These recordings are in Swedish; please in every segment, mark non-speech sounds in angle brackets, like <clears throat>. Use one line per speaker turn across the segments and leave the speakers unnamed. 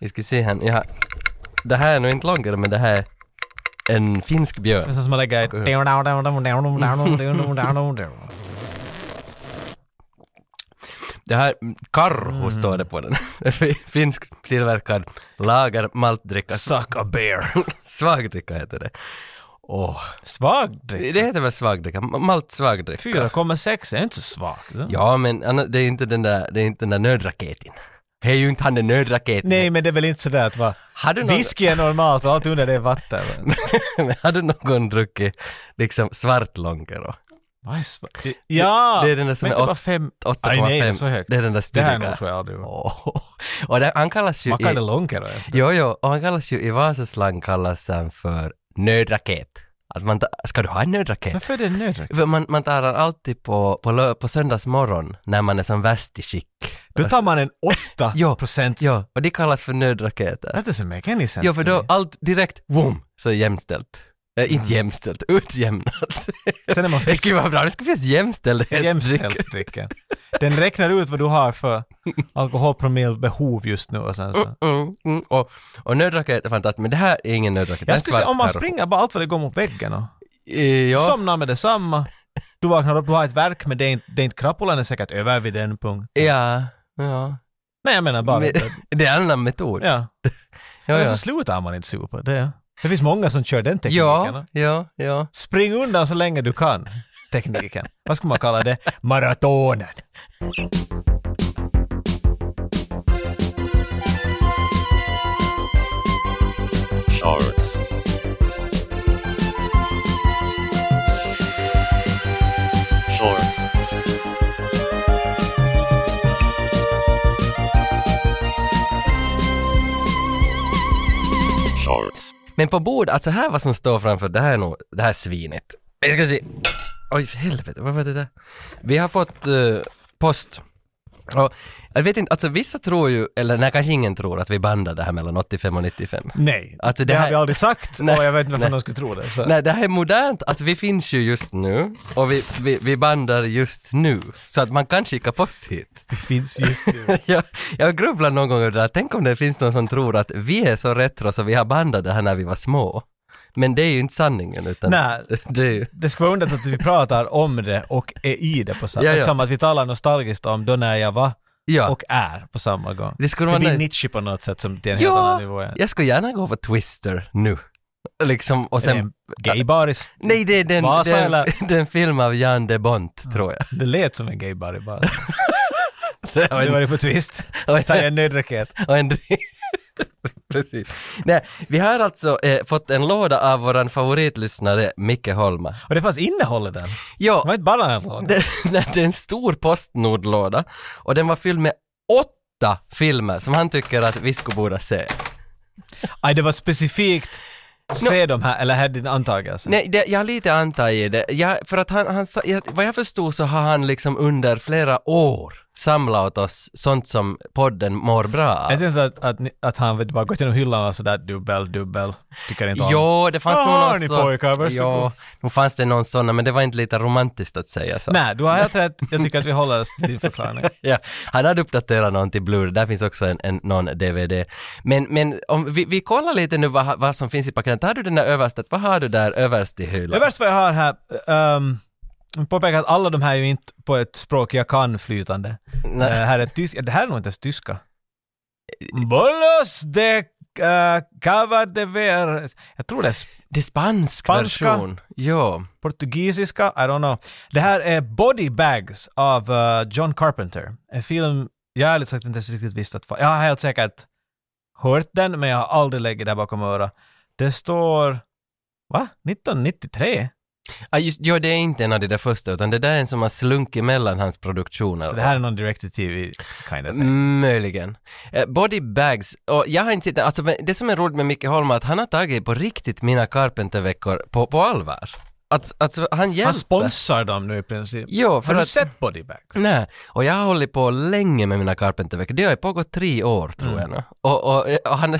Vi ska se här, jag har... Det här är nog inte loggare men det här är en finsk björn.
Nästan som att lägga...
Det här, Karhu
Mm.
står det på den. <laughs> Finsk tillverkad lager maltdricka.
Suck a bear.
Svagdricka heter det. Åh,
Svagdricka.
det heter väl svagdricka? Ma- Malt svagdricka.
4,6 är inte så svagt.
Ja, men anna- det är inte den där, det är inte den där nödraketen. Det är ju inte han den nödraketen.
Nej, men det är väl inte sådär att va?
Har du någon, <laughs>
Whisky är normalt och allt under det är vatten.
har du någon druckit liksom svart långero?
Vad är sva- Ja!
Det är den där som
men
är
det var
åt-
fem... Aj, nej, det är så
8,5.
högt.
Det är den där
Det här är
styrka.
nog så jag aldrig gjort.
Åh. <laughs> Och det, han kallas ju
Man kan det
i,
långkero. alltså.
jo, jo, och han kallas ju i Vasaslang kallas han för nödraket. Att man ta, ska du ha en nödraket?
Varför är det nödvändigt?
För man, man tar den alltid på, på, lö, på söndagsmorgon när man är som värst i skick.
Då tar man en 8
Ja,
procents...
Ja, och det kallas för nödraketer.
That doesn't make any sense
Ja, för
to
då
me.
allt direkt, boom, så är jämställt. Eh,
Mm.
inte jämställt,
<laughs>
utjämnat.
Sen är man
det
frisk.
skulle vara bra, det skulle finnas jämställdhetsdryck.
Jämställdhetsdrycken. Den räknar ut vad du har för alkoholpromillbehov just nu och sen så.
Mm, mm, och, och nödraket är fantastiskt, men det här är ingen nödraket. det är
Jag skulle säga
svart
om man
här.
springer bara allt vad det går mot väggen och
Eh, Ja,
somnar med detsamma. Du vaknar upp, du har ett verk men det är inte, det är inte krapulan är säkert över vid den punkt.
ja, ja.
Nej jag menar bara...
Men- <laughs> Det är en annan metod.
Ja. Alltså,
Ja,
Eller så
ja.
slutar man inte supa. Det, det finns många som kör den tekniken.
Ja, ja, ja.
Spring undan så länge du kan. Tekniken. Vad ska man kalla det? Maratonen.
shorts, shorts, shorts,
Men på bord, alltså här vad som står framför, det här är nog, det här är svinet. Jag ska se. Oj, för helvete, vad var det där? Vi har fått eh, post. Och, jag vet inte, alltså vissa tror ju, eller nej kanske ingen tror att vi bandar det här mellan 85 och 95.
Nej.
Alltså, det
det, har
här-
vi aldrig sagt
Nej.
och jag vet inte varför
Nej.
någon skulle tro det. Så.
Nej, det här är modernt, alltså vi finns ju just nu och vi, vi, vi bandar just nu. Så att man kan skicka post
<laughs>
hit.
Det finns
<laughs>
just nu.
jag, jag grubblar någon gång över det där. Tänk om det finns någon som tror att vi är så retro så vi har bandat det här när vi var små. Men det är ju inte sanningen utan
Nej.
<laughs> det är ju...
Det skulle vara underligt att vi pratar om det och är i det på samma
Ja, ja.
Som att vi talar nostalgiskt om då när jag var
Ja,
och är på samma gång.
det skulle
Det
man...
blir Nietzsche på något sätt som till en helt
Ja.
annan nivå. igen.
Jag skulle gärna gå på Twister nu. Liksom, och
Är det
sen...
en Gaybaris.
Nej, det är den,
Eh, Vasa
den,
eller?
<laughs> den film av Jan de Bont, tror jag.
Det lät som en gaybar i
<laughs>
bara.
Och
Du var
en,
det på twist.
och
Ta
en,
en nödraket.
och en <laughs> Precis. Nej, vi har alltså eh, fått en låda av våran favoritlyssnare Micke Holma.
Och det fanns innehåll i den. Det
Ja,
var inte bara en låda.
det, <laughs> nej, det är en stor Postnordlåda och den var fylld med åtta filmer som han tycker att vi skulle borde se.
Aj, det var specifikt. Se de här, eller här din antagelse.
Nej, det, jag har lite antagit det. Jag, för att han, han sa- jag, vad jag förstod så har han liksom under flera år samlat åt oss sånt som podden mår bra av.
Jag tänkte att, att, ni- att han vill bara gå genom hyllan och sådär dubbel, dubbel. Tycker inte om.
Jo, det fanns
Vad
nog
har
någon
ni
sån-
pojkar? Varsågod.
Jo, nog fanns det någon sån, men det var inte lite romantiskt att säga så.
Nej, du har helt rätt. Jag tycker att vi håller oss till din förklaring.
Ja, han hade uppdaterat någon till Blu-ray, där finns också en, en, någon DVD. Men, men om vi, vi kollar lite nu vad, vad som finns i paketet. Har du den där överst, vad har du där överst i hyllan?
Överst vad jag har här, ehm, jag påpekar att alla de här är ju inte på ett språk jag kan flytande. Eh,
Nej.
här är tyska, det här är nog inte ens tyska. Bollos de uh, cava de ver... Jag tror det är
Det är spansk
Spanska.
version. Ja.
portugisiska, I don't know. Det här är Body Bags av eh, John Carpenter. En film jag ärligt sagt inte ens riktigt visst att... Jag har helt säkert hört den, men jag har aldrig lägger där bakom örat. Det står... Va? 1993?
Ah, just, ja, det är inte en av de där första, utan det där är en som har slunkit mellan hans produktioner.
Så det här är någon direct-to-tv kind of thing.
Möjligen. Eh, Body bags, och jag har inte sett den. alltså men det som är roligt med Micke Holm är att han har tagit på riktigt mina Carpenter-veckor på, på allvar. Att, alltså han hjälper.
Han sponsrar dem nu i princip.
Jo, för
Har du
att...
sett Body Bags?
Nej, och jag har Mm. hållit på länge med mina Carpenter-veckor. Det har ju pågått tre år tror jag nu. Och, och, och han,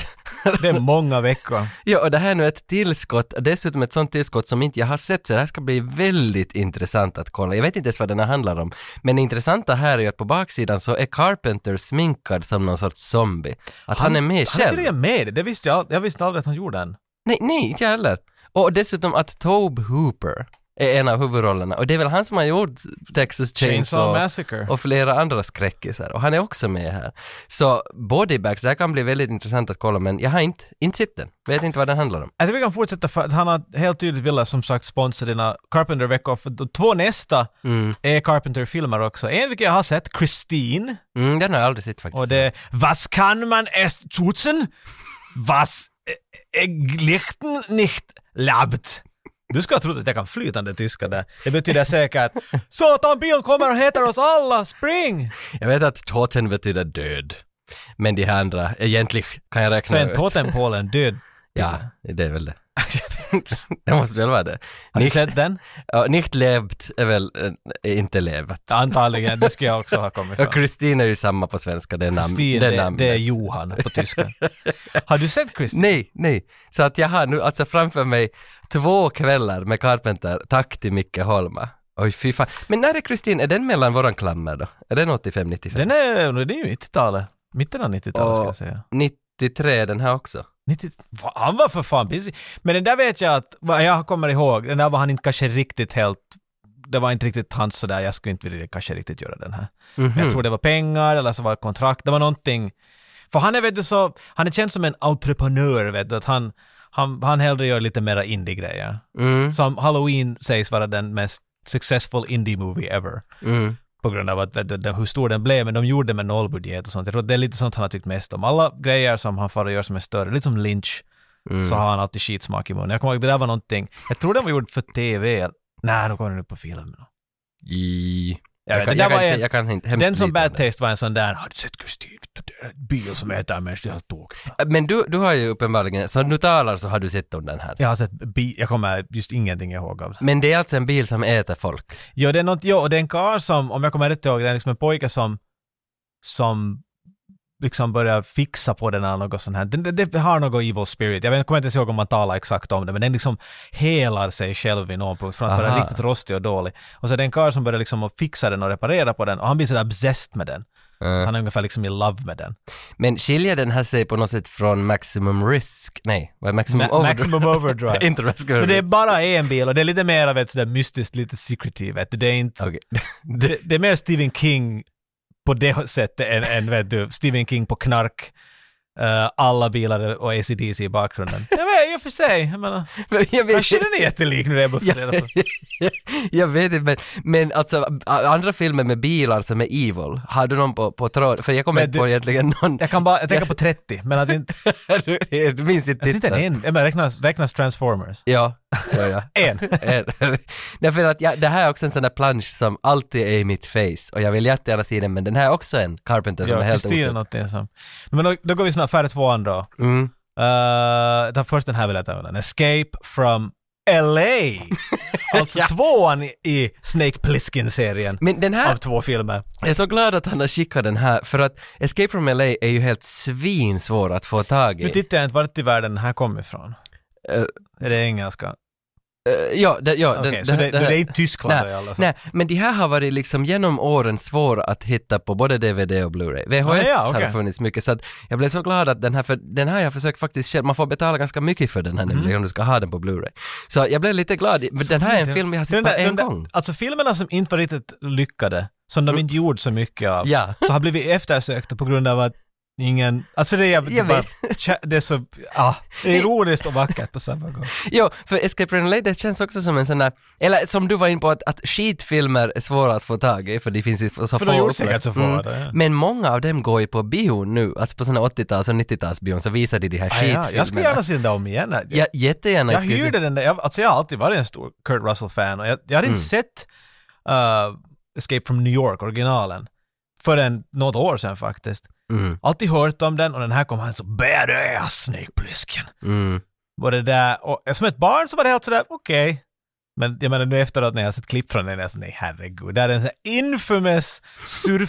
Det är många veckor.
<laughs> Ja, och det här är nu ett tillskott, dessutom ett sånt tillskott som inte jag har sett, så det här ska bli väldigt intressant att kolla. Jag vet inte ens vad den här handlar om, men det intressanta här är ju att på baksidan så är Carpenter sminkad som någon sorts zombie. Att han, är med
Han är
själv.
tydligen med i det. det visste jag, ald- jag visste aldrig att han gjorde den.
Nej, nej, inte jag heller. Och dessutom att Tobe Hooper är en av huvudrollerna, och det är väl han som har gjort Texas
Chainsaw
Chainsaw
Massacre.
och flera andra skräckisar, och han är också med här. Så Bodybags, det här kan bli väldigt intressant att kolla, men jag har inte, inte sett den. Vet inte vad den handlar om.
Jag tror vi kan fortsätta för att han har helt tydligt velat som sagt sponsra dina Carpenter-veckor. För de två nästa
Mm.
är Carpenter-filmer också. En vilken jag har sett, Christine.
Mm, den har jag aldrig sett faktiskt.
Och det är Was kann man erst schützen? Was äh, äh, Lichten nicht labt? Du ska ha trott att jag kan flytande tyska där. Det betyder <laughs> säkert Satan bilen kommer och heter oss alla, spring!
Jag vet att toten betyder död. Men de här andra, egentligen kan jag
Så
räkna
en
ut.
totempål är en död.
Ja, det är väl det. <laughs> det måste väl vara det.
Har ni
Nicht,
sett den?
ja, nicht lebt är väl eh, inte levat.
Antagligen, det skulle <laughs> jag också ha kommit
Och
fram.
Kristin är ju samma på svenska, det är namn.
Kristin,
är
det,
namnet.
det är Johan på <laughs> tyska. Har du sett Kristin?
Nej, nej. Så att jag har nu alltså framför mig två kvällar med Carpenter, tack till Micke Holma. Oj, fy fan. Men när är Kristin, är den mellan våran klammer då? Är den 85-95?
Den är, det är ju 90-talet. Mitten av 90-talet ska
Och-
jag säga.
93 den här också.
90, Va, han var för fan busy. Men den där vet jag att, vad jag kommer ihåg, den där var han inte kanske riktigt helt, det var inte riktigt hans sådär, jag skulle inte vilja kanske riktigt göra den här. Men Mm-hmm.
Hmm.
jag tror det var pengar eller så var det kontrakt, det var någonting. För han är vet du så, han är känd som en entreprenör vet du, att han, han, han hellre gör lite mera indie-grejer.
Mm,
Som Halloween sägs vara den mest successful indie-movie ever.
mm.
På grund av att, vet du, den- hur stor den blev, men de gjorde det med nollbudget och sånt. Jag tror att det är lite sånt han har tyckt mest om. Alla grejer som han far och gör som är större, lite som Lynch,
Mm.
så har han alltid skitsmak i munnen. Jag kommer ihåg, det där var någonting. Jag tror den var gjord för TV. Nej, nu kommer den upp på film.
I...
Jag
Jag,
vet,
kan,
det där
jag,
var
kan inte,
en-
säga- jag kan inte hemskt
Den som
lite om
Bad
det.
Taste var en sån där, har du sett Kristin? Det är en bil som äter människor helt tokigt.
Men du, du har ju uppenbarligen, så nu talar så har du sett om den här.
Jag har sett bil, jag kommer just ingenting ihåg av det.
Men det är alltså en bil som äter folk.
Jo, det är något, jo, och det är en karl som, om jag kommer rätt ihåg, det är liksom en pojke som, som liksom börjar fixa på den eller något sånt här. Det, det, det har något evil spirit. Jag vet, jag kommer inte ens ihåg om man talar exakt om det, men den liksom helar sig själv vid någon punkt från att vara
Aha.
riktigt rostig och dålig. Och så är det en karl som börjar liksom att fixa den och reparera på den och han blir sådär obsessed med den.
Eh,
Han är ungefär liksom i love med den.
Men skiljer den här sig på något sätt från Maximum Risk? Nej, vad är Maximum
Ma-
Overdrive?
maximum
<laughs>
overdrive.
inte Maximum
Men det är
Risk.
bara en bil och det är lite mer av ett sådär mystiskt, lite secretive. vet du. Det är inte...
Okej.
<laughs> det, det är mer Stephen King på det sättet än, än vet du, Stephen King på knark. Eh, alla bilar och ACDC
<laughs>
i bakgrunden. Jag vet, i och för sig. Jag menar,
Men jag vet-
kanske den är jättelik nu när jag börjar fundera på det.
<laughs> Jag vet inte, men, men alltså a- andra filmer med bilar som är evil, har du någon på, på tråd? För jag kommer
Men
inte
du-
på egentligen någon. <laughs>
Jag kan bara, jag tänker på 30, men att inte,
du, du minns inte
att inte en,
titeln.
en, jag menar, räknas, räknas Transformers?
Ja, ja, ja. <laughs>
En!
Är- Nej, för att jag, det här är också en sån där plansch som alltid är i mitt face och jag vill jättegärna se den men den här är också en Carpenter som är
Ja,
helt
Kristina
osynlig.
någonting som. Men då, då går vi snart färdigt tvåan då.
Mm.
Uh, den först den här vill jag ta undan. Escape from
<laughs>
LA! Alltså tvåan i- i Snake Plissken-serien
Men den
av
här,
två filmer.
jag är så glad att han har skickat den här för att Escape from LA är ju helt svinsvår att få tag
Nu
i.
tittar jag inte vart i världen den här kommer ifrån.
Eh,
Är det engelska?
Eh, ja, det, ja,
Okej,
den,
så
den-
det,
den
det,
här-
är inte Tyskland då i alla fall.
Nej, men de här har varit liksom genom åren svåra att hitta på både DVD och Blu-ray. VHS
Ah, ja,
har
okej.
det funnits mycket, så att jag blev så glad att den här, för den här har jag försökt faktiskt själv, man får betala ganska mycket för den
Mhm.
här nämligen om du ska ha den på Blu-ray. Så jag blev lite glad, men den här är en film jag har sett
Den
bara
där-
en
den där-
gång.
Alltså filmerna som inte var riktigt lyckade, som de inte gjorde så mycket av,
Mm. Ja.
så har blivit eftersökta på grund av att ingen... Alltså det är jävligt
Jag
bara...
vet.
tja- Det är så... Ah, det är ironiskt och vackert på samma gång.
Jo, för Escape from LA, det känns också som en sån där, eller som du var inne på, att, att skitfilmer är svåra att få tag i, för det finns ju så
För de gjorde
upplag.
säkert så få
Mm.
av det, ja.
Men många av dem går ju på bio nu, alltså på såna 80-tals och 90-talsbion så visar de de här
Ah, ja,
skitfilmerna.
jag skulle gärna se den där om igen.
Ja, jättegärna.
Jag
skulle se-
hyrde den där, jag, alltså jag har alltid varit en stor Kurt Russell-fan och jag, jag hade
Mm.
inte sett uh, Escape from New York, originalen, förrän något år sedan faktiskt.
Mm,
Alltid hört om den och den här kom han så badass Snake Plissken.
mm.
Och det där, och som ett barn så var det helt sådär okej. Men jag menar nu efteråt när jag har sett klipp från den, jag är så, nej herregud, där är en sån här infamous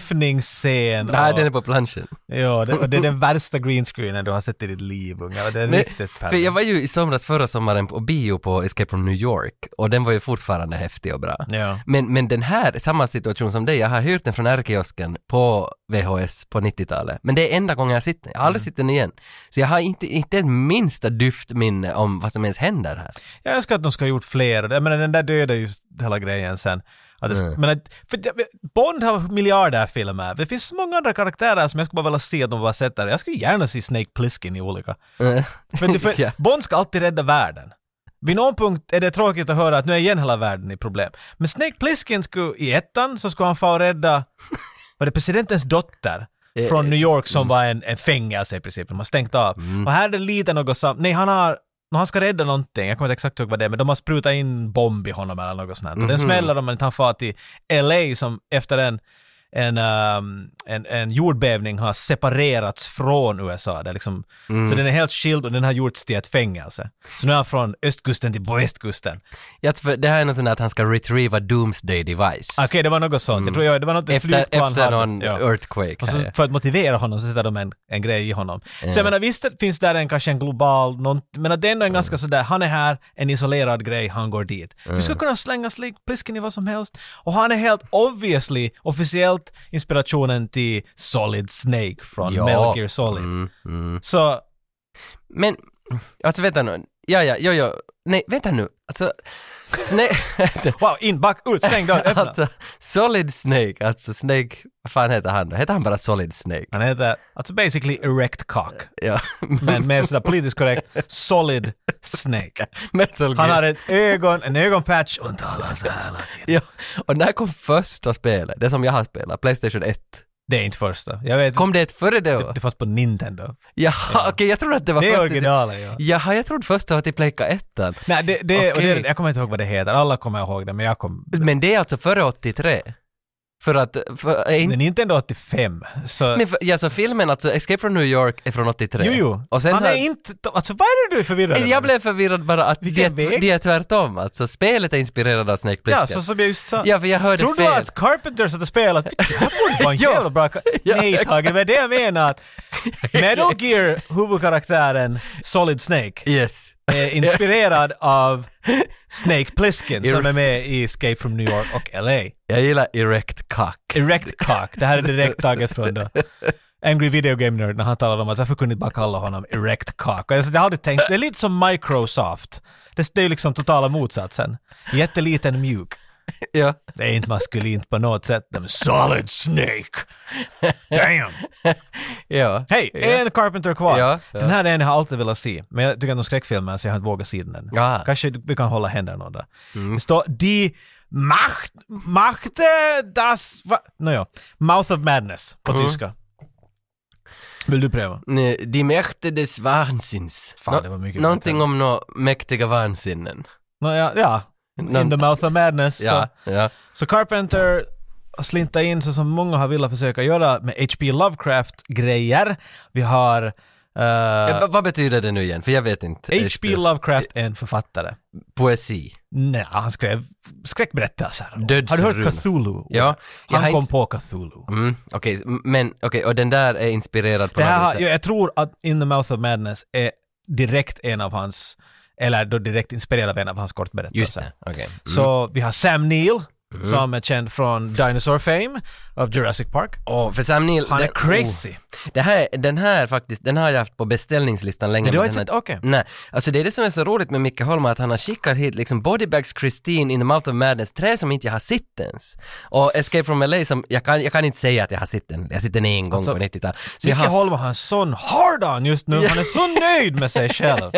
surfningsscen.
Nej,
och-
den är på planschen.
Ja, det, och det är den värsta greenscreenen du har sett i ditt liv, unga. Och det är
Nej,
riktigt
För jag
pervert.
var ju i somras, förra sommaren, på bio på Escape from New York och den var ju fortfarande häftig och bra.
Ja.
Men, men den här, samma situation som dig, jag har hyrt den från R-kiosken på VHS på 90-talet. Men det är enda gången jag sett den, jag har
Mm.
aldrig sett den igen. Så jag har inte, inte ett minsta dyft minne om vad som ens händer här.
Jag önskar att de skulle ha gjort fler. Jag menar, den där dödar ju hela grejen sen. Att det, sk-
Mm.
men att, för det, Bond har miljarder filmer. Det finns så många andra karaktärer som jag skulle bara vilja se att de bara sätter. Jag skulle gärna se Snake Plissken i olika.
Eh,
Men du,
<laughs>
för
Ja.
Bond ska alltid rädda världen. Vid någon punkt är det tråkigt att höra att nu är igen hela världen i problem. Men Snake Plissken skulle, i ettan, så skulle han få rädda, var det presidentens dotter?
Eh,
Från New York som var en, en fängelse i princip, de har stängt av.
Mm.
Och här är det lite något samt, nej han har, när han ska rädda någonting, jag kommer inte exakt ihåg vad det är, men de har sprutat in bomb i honom eller något sånt. Och
Mhm.
den smäller om att han far till LA som efter en en, ehm, en, en jordbävning har separerats från USA. Det är liksom,
Mm.
Så den är helt skild och den har gjorts till ett fängelse. Så nu är han från östkusten till västkusten.
Ja, för det här är något sånt där att han ska retrieva Doomsday Device.
Ah, Okej, det var något sånt. Jag tror jag, det var något ett
Efter,
flygplan
efter
hade-
någon
ja.
earthquake.
Och
här, ja.
så för att motivera honom så sätter de en, en grej i honom. Så
Mm.
jag menar visst det finns där en kanske en global, någon, men att det ändå är en ganska
Mm.
sådär, han är här, en isolerad grej, han går dit. Du skulle kunna slänga Slick Plissken i vad som helst. Och han är helt obviously, officiellt inspirationen till Solid Snake från
Ja.
Metal Gear Solid.
Mm, mm.
Så,
Men, alltså vänta nu. Ja, ja, ja, ja. Nej, vänta nu. Alltså,
<laughs>
Snake...
wow, in, back, ut, släng dörren,
<laughs>
öppna.
alltså, Solid Snake, alltså Snake, vad fan heter han då? Heter han bara Solid Snake?
Han heter, alltså basically erect cock.
Ja, <laughs>
Men mer sådär politiskt korrekt, Solid Snake.
Metal Gear.
Han har ett ögon, en ögonpatch och han talar så här hela tiden.
Ja, och när kom första spelet? Det som jag har spelat, Playstation 1.
Det är inte första. Jag vet
Kom det ett före då?
Det fanns på Nintendo.
Jaha, <laughs> okej, jag trodde att det var
Det är
första-
originalet ja.
Jaha, jag trodde första var till Playka 1.
Nej, det, det, och
Okej.
det, jag kommer inte ihåg vad det heter. Alla kommer ihåg det, men jag kommer...
Men det är alltså före 83? För att, för, är inte,
Men Nintendo 85, så...
men för, ja, så filmen alltså, Escape from New York är från 83?
jo, jo.
Och sen
han
har-
är inte... Alltså vad är det du är förvirrad över?
Jag blev förvirrad bara att det,
Vilken väg?
det är tvärtom alltså, spelet är inspirerat av Snake
Ja,
Plissken.
så som jag just sa.
Ja, för jag hörde
Tror
fel.
du att Carpenters hade spelat? Det här borde vara en <laughs>
Ja.
jävla bra... ka-
Ja,
Nej
exakt.
Tage, det var det jag menar. <laughs> att Metal Gear, huvudkaraktären Solid Snake,
Yes.
är <laughs> inspirerad av Snake Plissken som är med i Escape from New York och LA.
Jag gillar erect cock.
Erect cock. Det här är direkt taget
<laughs>
från då. Angry Video Game Nerd när han talade om att varför kunde ni bara kalla honom Erect Cock? Och jag sa, det har du tänkt. Det är lite som Microsoft. Det det är ju liksom totala motsatsen. Jätteliten mjuk.
Ja.
Det är inte maskulint på något sätt. De är solid snake. Damn!
Ja.
Hej,
Ja.
en Carpenter kvar.
Ja, ja.
Den här är en jag har alltid velat se. Men jag tycker att de skräckfilmer så jag har inte vågat se den än.
Ja.
Kanske vi kan hålla händer någon där.
Mm.
Det står Die Macht, Machte das... Va? Nåja. Mouth of Madness på
Mm.
tyska. Vill du pröva?
Nej, Die Mächte des Wahnsinns.
Fan,
Nå-
det var mycket
någonting
bättre.
om några mäktiga vansinnen.
Nåja, ja. In
Någon-
the Mouth of Madness.
Ja,
Så,
ja.
så Carpenter har slintat in så som många har velat försöka göra med H.P. Lovecraft-grejer. Vi har... eh,
ja. va- Vad betyder det nu igen? För jag vet inte.
H.P. Lovecraft är en författare.
Poesi.
Nej, han skrev skräckberättelser. Har du
Dödsrum.
hört Cthulhu?
Ja. Jag
Han
har
kom
inte-
på Cthulhu.
Mm, okej, s- m- men okej, och den där är inspirerad på
Det här,
något
har-
sätt.
jag tror att In the Mouth of Madness är direkt en av hans, eller då direkt inspirerad av en av hans kortberättelser.
Just det, okej. Mm.
Så vi har Sam Neill, som är känd från Dinosaur Fame av Jurassic Park.
Åh, för Sam Neill...
Han är
det-
crazy.
oh. det här, den här faktiskt, den har jag haft på beställningslistan länge.
Men du
men
har
den
inte sett, okej.
Nej, alltså det är det som är så roligt med Micke Holm, att han har skickat hit liksom Bodybags Christine in the Mouth of Madness 3 som inte jag har sett ens. Och Escape from LA som, jag kan, jag kan inte säga att jag har sett den, jag har sett den en gång
Alltså,
på 90-talet. Så jag
Micke
har,
Holm har en sån hard-on just nu, han
<laughs>
är så nöjd med sig själv.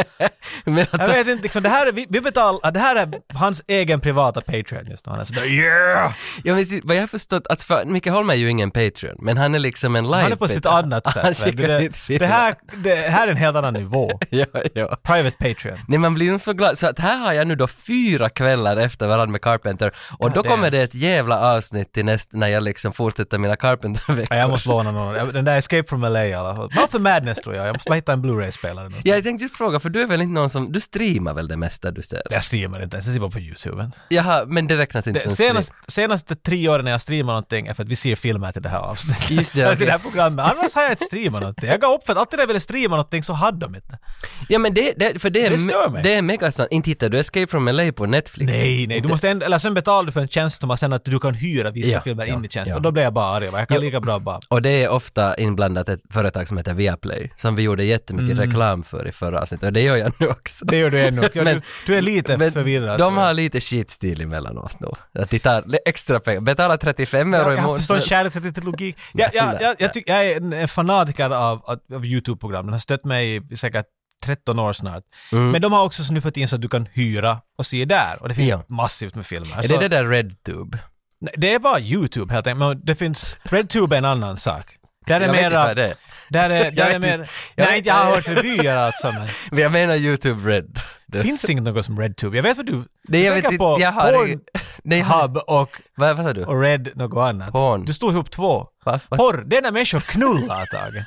men
Jag
<laughs> alltså,
vet inte, liksom, det här är, vi, vi betalar, det här är hans egen privata Patreon just nu. Han är sådär, Yeah!
Jag minns, vad jag har förstått, alltså för, Mikael Holm är ju ingen Patreon, men han är liksom en live
Han är på sitt
Patreon.
annat
Han
sätt. vet
skickar
du.
dit
Det, det,
filmer.
här, det här är en helt annan nivå.
<laughs> Ja, ja.
Private Patreon.
Nej man blir nog så glad, så att här har jag nu då fyra kvällar efter varandra med Carpenter och då
Goddamn.
kommer det ett jävla avsnitt till näst, när jag liksom fortsätter mina
Ja,
Carpenter-veckor.
jag måste låna någon. Den där Escape from LA i alla fall. Mouth of Madness tror jag. Jag måste bara hitta en Blu-ray-spelare. nu.
Ja, jag tänkte just fråga, för du är väl inte någon som, du streamar väl det mesta du ser?
Jag streamar inte ens, jag ser bara på YouTube.
Jaha, men det räknas inte
Det,
som
senast, senaste tre åren när jag streamar någonting är för att vi ser filmer till det här avsnittet.
Just det,
Eller
okej.
<laughs> till det här programmet. Annars har jag inte streamat någonting. Jag gav upp för att alltid när jag ville streama någonting så hade de inte.
stream. Ja men det, det, för det är,
Det stör
me-
mig.
det är mega sant. Inte hittar du Escape from LA på Netflix?
Nej, nej. Du måste ändå, eller sen betalar du för en tjänst som har sen att du kan hyra vissa
Ja,
filmer
ja,
in i tjänsten.
ja.
Och då blir jag bara arg. Jag bara, Jag kan lika bra bara...
Och det är ofta inblandat ett företag som heter Viaplay, som vi gjorde jättemycket
Mm.
reklam för i förra avsnittet, och det gör jag nu också.
Det gör du
<laughs>
ännu. Ja,
Men-
du, du är lite
Men
förvirrad. tror
de
jag.
har lite skitstil emellanåt nog. Att de tar li- extra pengar, betalar 35 euro i
Jag, jag förstår
månaden.
kärleken
<laughs>
till logik. Jag,
Nej,
jag, jag,
nej.
jag, tycker, jag är en- en fanatiker av, av- av YouTube-program. Den har stött mig i säkert 13 år snart.
Mm.
Men de har också så nu fått in så att du kan hyra och se där. Och det finns
Ja.
massivt med filmer.
Är
Så-
det det där RedTube?
nej, det är bara YouTube helt enkelt. Men det finns... RedTube är en annan sak. Där är
Jag vet inte
mera...
vad det är.
Där är, där
vet
är
inte.
mer...
<laughs> Jag vet-
nej, inte jag har hört revyer alltså,
<laughs>
men
Men jag menar YouTube Red.
det finns inget något som RedTube. Jag vet vad du...
Det jag vet
du tänker
inte,
på
jag har
Pornhub
ingen- Nej, jag har-
och,
Vad, vad sa du?
och Red något annat.
Porn.
Du stod ihop två.
Va, va?
Porr, det är när människor knullar, Tage.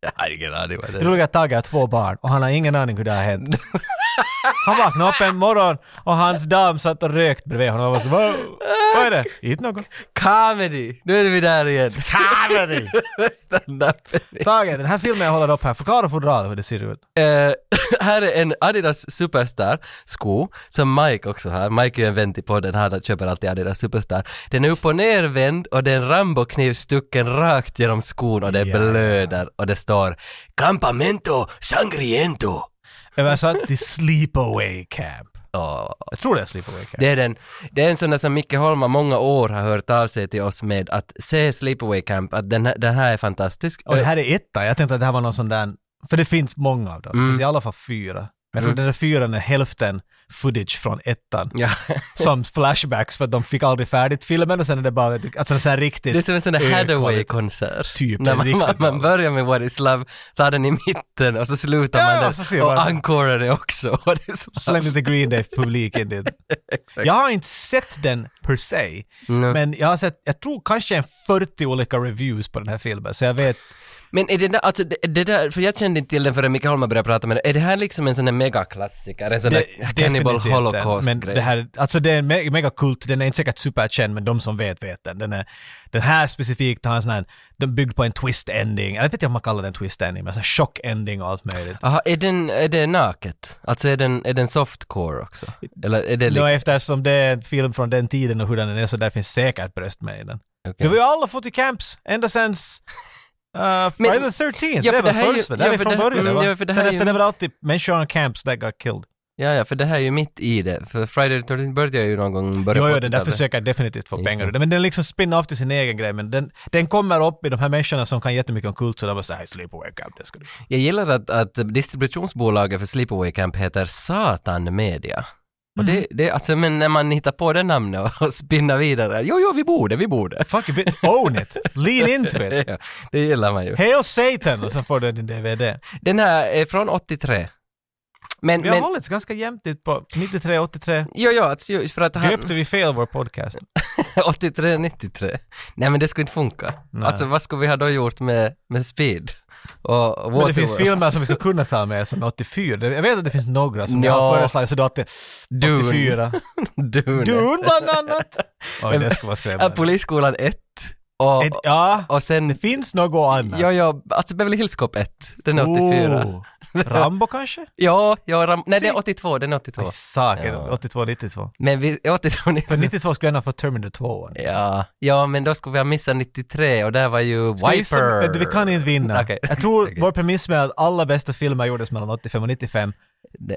Jag har ingen aning vad det
Det
är.
roliga är att Tage har två barn och han har ingen aning hur det har hänt. Han vaknade upp en morgon och hans dam satt och rökt bredvid honom och var så "Vad- Vad är det? Inte något.
Comedy! Nu är vi där
<laughs>
igen.
Comedy!
Stand-up.
Tage, den här filmen jag håller upp här, förklara fodralet hur det ser ut.
Eh, <laughs> här är en Adidas Superstar-sko som Mike också har. Mike är ju en vän till podden, han köper alltid Adidas Superstar. Den är upp och nervänd och det är en Rambo-kniv stucken rakt genom skon och det
Ja.
blöder och det står Campamento Sangriento.
Översatt till Sleepaway Camp.
Ja,
Jag tror det är Sleepaway Camp.
det är den. Det är en sån där som Micke Holm har många år har hört av sig till oss med att se Sleepaway Camp, att den här, den här är fantastisk.
Och det här är etta. Jag tänkte att det här var någon sån där... För det finns många av dem. Det finns
Mm.
i alla fall fyra. Men jag tror den där fyran är hälften footage från ettan.
Ja,
Som flashbacks för att de fick aldrig färdigt filmen och sen är det bara alltså, så här riktigt...
det är som en sån där
Ökar
Hathaway-konsert.
typ.
När
en
man,
riktig
man, man
galen.
börjar med What is Love, tar den i mitten och så slutar
Ja,
man
ja,
den
så ser man
och
den.
ancorar det också. <laughs> What is love.
Släng lite Green Day-publik in dit. Jag har inte sett den per se,
Mm. Men,
men jag har sett, jag tror kanske en 40 olika reviews på den här filmen, så jag vet.
är det där, alltså det, det där, för jag kände inte till den förrän Mikael Holmberg började prata med Är det här liksom en sån där megaklassiker? En sån
Det,
där Cannibal
definitivt den, Men det
Holocaust-grej?
här, alltså det är en me- megakult, den är inte säkert superkänd, men de som vet vet den. Den, är, den här specifikt har en sån här, den är byggd på en twist-ending, jag vet inte om man kallar den twist-ending, men en chock-ending och allt möjligt.
Jaha, är, den, är det naket? Alltså är den, är den softcore också? Eller är det
Nå,
liksom...
eftersom det är en film från den tiden och hur den är så där finns säkert bröst med i den.
okej.
Vi har ju alla fått i camps
<laughs>
ända sen uh, Friday the 13th.
Ja,
det
för
är
det här är
väl
ju-
första?
ja,
Det är
för
väl från
det-
början det
mm,
va?
ja, för det här
Sen
är
efter
ju-
det var alltid människor on camps that got killed.
Ja, ja, för det här är ju mitt i det. För Friday the 13th började ju någon gång i början
Jo,
på
jo, den där
80-talet.
försöker definitivt få
Just
pengar
det.
ur det. Men den liksom spinner off till sin egen grej. Men den, den kommer upp i de här människorna som kan jättemycket om kult så de bara såhär “Sleepaway camp, det ska du...”
Jag gillar att, att distributionsbolaget för Sleepaway Camp heter Satan Media. Och
Mhm.
det, det, alltså, men när man hittar på det namnet och, och spinnar vidare, jo, jo, vi borde, vi
<laughs>
borde.
Fuck it, own it! Lean into it!
Ja, det gillar man ju.
Hail Satan! Och sen får du din DVD.
Den här är från 83. Men,
Vi har
men,
hållits ganska jämnt dit på 93, 83.
jo, jo, alltså, ju- för att han, <laughs>
Döpte vi fel vår podcast?
83, 93. Nej, men det skulle inte funka.
Nej.
Alltså, vad skulle vi ha då gjort med, med Speed? Och
Men det finns
Waterworld? <laughs>
filmer som vi ska kunna ta med som är 84. Det- Jag vet att det finns några som jag
Ja.
har föreslagit, så det är alltid
Dune.
84.
Dune.
Dune bland annat! Oj, det skulle vara
Ja,
skrämmande.
Polisskolan 1. Och,
Ett- Ja,
och sen
det finns något annat.
Ja, ja, alltså Beverly Hills Cop 1, den är 84.
Oh. Rambo kanske?
<laughs> Ja, ja, Ram- nej den är
Se-
82, den är 82.
Nej, saker.
Ja.
82, 92.
Men vi, <laughs> 82, 90.
För 92 skulle jag ändå få Terminator 2.
Ja, ja, men då skulle vi ha missat 93 och där var ju
Ska vi gissa?
Wiper.
Vet du, Vi kan inte vinna.
Okej.
Jag tror
Okej.
vår premiss med att alla bästa filmer gjordes mellan 85 och 95,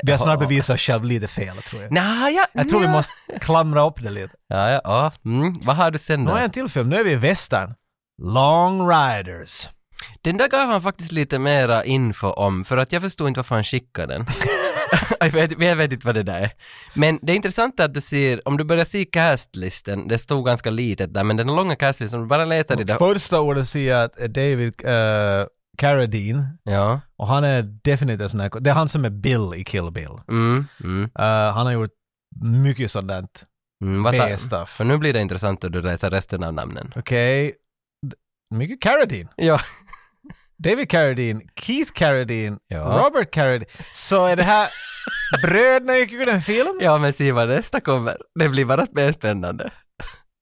vi har snarare bevisat oss själva lite fel tror jag.
Nej, Mm. ja,
Jag tror vi
nja.
måste klamra upp det lite.
Ja, ja, ja. Mm. Vad har du sen
Nu
då?
har jag en till film, nu är vi i västern. Long Riders. <laughs>
Den <laughs> där gav han faktiskt lite mera info om, för att jag förstod inte varför han skickade den. jag, vet, jag vet inte vad det där är. Men det är intressant att du ser, om du börjar se castlisten, det stod ganska litet där, men den långa castlistan, om du bara läser det där.
Första ordet ser jag att är David eh, Carradine,
Ja.
och han är definitivt en sån här, det är han som är Bill i Kill Bill.
Mm, mm,
Eh, han har gjort mycket sådant
mm. Vad ta-
B-stuff.
för nu blir det intressant att du läser resten av namnen.
Okej. D- Mycket Carradine.
Ja.
<laughs> David Carradine, Keith Carradine,
Ja.
Robert Carradine. Så är det här
<laughs>
bröderna gick ur en film?
Ja, men se vad nästa kommer. Det blir bara mer spännande.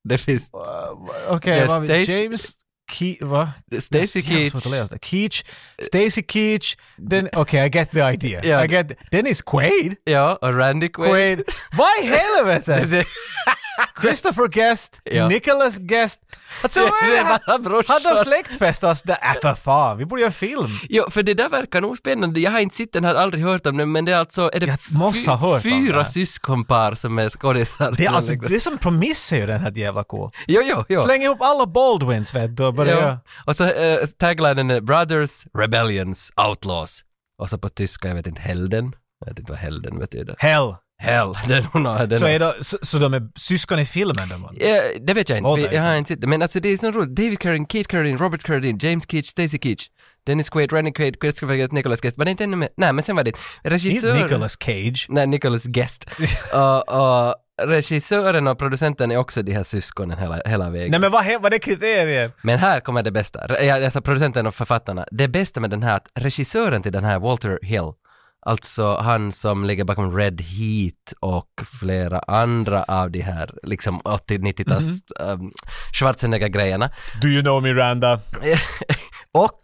Det finns
Uh, Okej,
Yes,
vad har vi?
Stacy-
James... Ke- va?
Stacy
Det är jävligt svårt att lära
Keach.
sig. Keach, Stacy Keach, den... Okej, I get the idea.
Ja.
I get... Dennis Quaid?
Ja, och Randy Quaid.
Quaid. Vad i helvete?
<laughs> Det,
Christopher Guest,
Ja.
Nicholas Guest. Alltså, vad är
det
det här?
<laughs> är bara
Hade de
brorsor.
släktfest oss? där? Äh, för fan, vi borde göra en film.
Ja, för det där verkar nog spännande. Jag har inte sett den här, aldrig hört om den, men det är alltså, är det
Jag måste ha hört om
fyra
den.
syskonpar som är skådisar?
Det är, alltså, det är som premiss är ju den här jävla cool.
Jo, jo, jo.
Släng ihop alla Baldwins vet du och börja...
ja. Och så eh, taglinen är “Brothers, Rebellions, Outlaws”. Och så på tyska, jag vet inte, Helden. Jag vet inte vad Helden betyder.
Hell!
Hell, <laughs> det är nog något. det är
Så,
nog-
är det, så, så de är syskon i filmen då? man?
Ja, det vet jag inte,
Låter
Vi- jag har
liksom.
inte sett det. Men alltså det är så roligt. David Carradine, Keith Carradine, Robert Carradine, James Keach, Stacy Keach, Dennis Quaid, Randy Quaid, Christopher Guest, Nicholas Guest. Var det inte ännu mer? Nej, men sen var det
Inte
regissör...
Nicolas Cage.
Nej, Nicholas
<laughs>
Guest. och, och regissören och producenten är också de här syskonen hela, hela vägen.
Nej men vad, he- vad är kriteriet?
Men här kommer det bästa. Re- ja, Alltså producenten och författarna. Det bästa med den här, att regissören till den här, Walter Hill, alltså han som ligger bakom Red Heat och flera andra av de här liksom 80-90-tals
Mhm.
um, Schwarzenegger-grejerna.
Do you know Miranda?
Och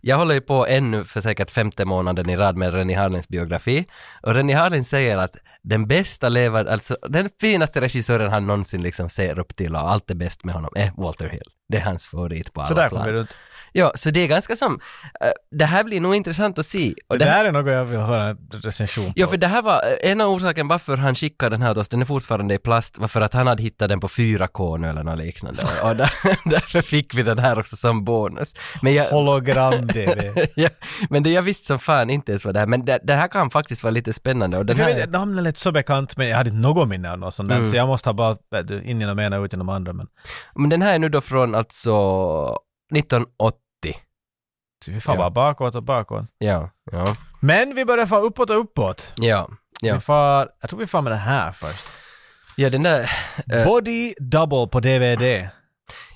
jag håller ju på ännu för säkert femte månaden i rad med Rennie Harlins biografi. Och Rennie Harlin säger att den bästa lever, alltså den finaste regissören han någonsin liksom ser upp till och allt det bäst med honom är Walter Hill. Det är hans favorit på alla
Så där
plan.
kommer det runt.
Ja, så det är ganska som, eh, det här blir nog intressant att se.
Det
Och det här,
där är något jag vill höra en recension på.
ja, för det här var eh, en av orsaken varför han skickade den här åt oss, den är fortfarande i plast, var för att han hade hittat den på 4K nu eller något liknande. Och, och där, <laughs> därför fick vi den här också som bonus. Men jag, <laughs>
Hologram-DV.
ja, men det jag visste som fan inte ens vad det här, men det, det här kan faktiskt vara lite spännande. Och den
Jag
här,
vet, inte, namnet lät så bekant men jag hade inte något minne av något sånt där.
Mm.
Så jag måste ha bara vet du, in genom ena och ut genom andra men...
men den här är nu då från alltså 1980.
Så vi far
Ja.
bara bakåt och bakåt.
Ja, ja,
Men vi börjar få uppåt och uppåt.
ja. Ja.
Vi far, jag tror vi far med den här först.
Ja, den där, Eh.
Body Double på DVD.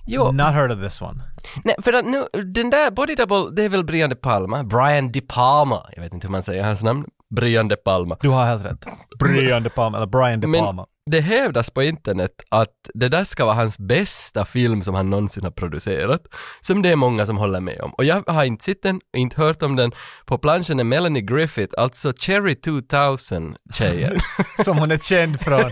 jo.
Not heard of this one.
Nej, för att nu, den där Body Double, det är väl Brian De Palma? Brian De Palma, jag vet inte hur man säger hans namn. Brian De Palma.
Du har helt rätt. Brian De Palma, eller Brian De
Men-
Palma.
Det hävdas på internet att det där ska vara hans bästa film som han någonsin har producerat, som det är många som håller med om. Och jag har inte sett den, inte hört om den. På planschen är Melanie Griffith, alltså Cherry <laughs> 2000-tjejen.
<laughs> Som hon är känd från.